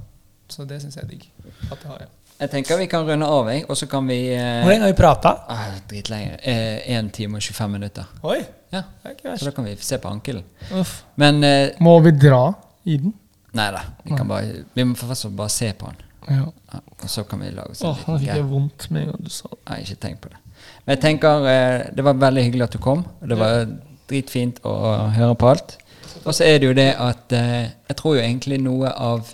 D: Så det syns jeg er digg. At jeg har. Ja.
C: Jeg tenker vi kan runde av, jeg, og så kan vi
D: Hvor
C: eh,
D: lenge har vi prata?
C: ah, Dritlenge. Eh, 1 time og 25 minutter.
D: Oi!
C: Ja.
D: Det er ikke
C: Så
D: verst.
C: da kan vi se på ankelen.
D: Uff.
C: Men eh,
D: Må vi dra i den?
C: Nei da. Vi, kan bare, vi må først bare se på han.
D: Ja.
C: Ja, og så kan vi lage oss en
D: Åh, nå
C: liten
D: fikk jeg
C: gag.
D: vondt med en gang du sa det.
C: Nei, ikke tenk på det. Men jeg tenker eh, det var veldig hyggelig at du kom. og Det var dritfint å høre på alt. Og så er det jo det at eh, jeg tror jo egentlig noe av,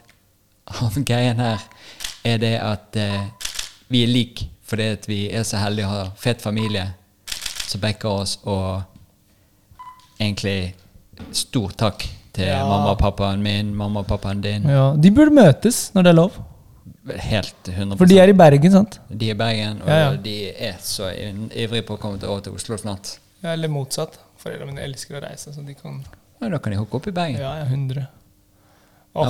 C: av greien her er det at eh, vi er like fordi at vi er så heldige å ha fet familie som backer oss, og egentlig stor takk til
D: Ja.
C: mamma og pappaen min, mamma og pappaen din.
D: Ja, de burde møtes når det er lov.
C: Helt 100
D: For de er i Bergen, sant?
C: de er i Bergen, og
D: Ja, ja.
C: de er så in- ivrige på å komme til- over til Oslo snart.
D: Ja, eller motsatt. Foreldrene mine elsker å reise, så de kan
C: Ja, da kan de hooke opp i Bergen. Ja,
D: Ja, jeg er 100.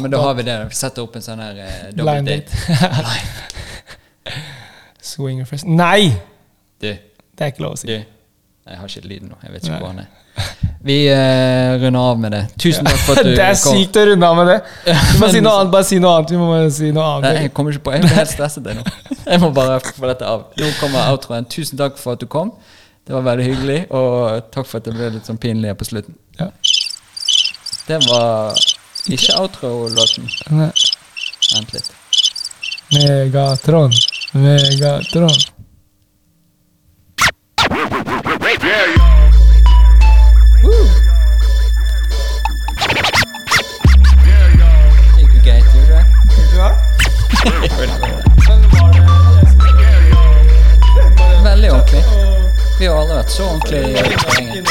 C: men da har vi det. Vi setter opp en sånn her eh, double
D: Blind
C: date.
D: date. Swingerfest Nei!
C: Du,
D: Det er ikke lov å si.
C: du. Jeg har ikke lyden nå. Jeg vet ikke
D: Nei.
C: hvor han er. Vi eh, runder av med det. Tusen takk for at du
D: Det er
C: kom.
D: sykt å runde av med det. Du må si noe annet. Bare si noe annet. Vi må bare si noe
C: Nei,
D: annet.
C: jeg kommer ikke på Jeg blir helt stresset jeg nå. Jeg må bare få dette av. Nå kommer outroen. Tusen takk for at du kom. Det var veldig hyggelig, og takk for at det ble litt sånn pinlig her på slutten.
D: Ja.
C: Det var ikke outro-låten.
D: Nei.
C: Vent litt.
D: Megatron. Megatron.
C: Det gikk jo greit, gjorde det? Veldig ordentlig. Vi har aldri vært så ordentlig i terrenget.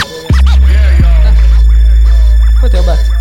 C: Godt jobbet.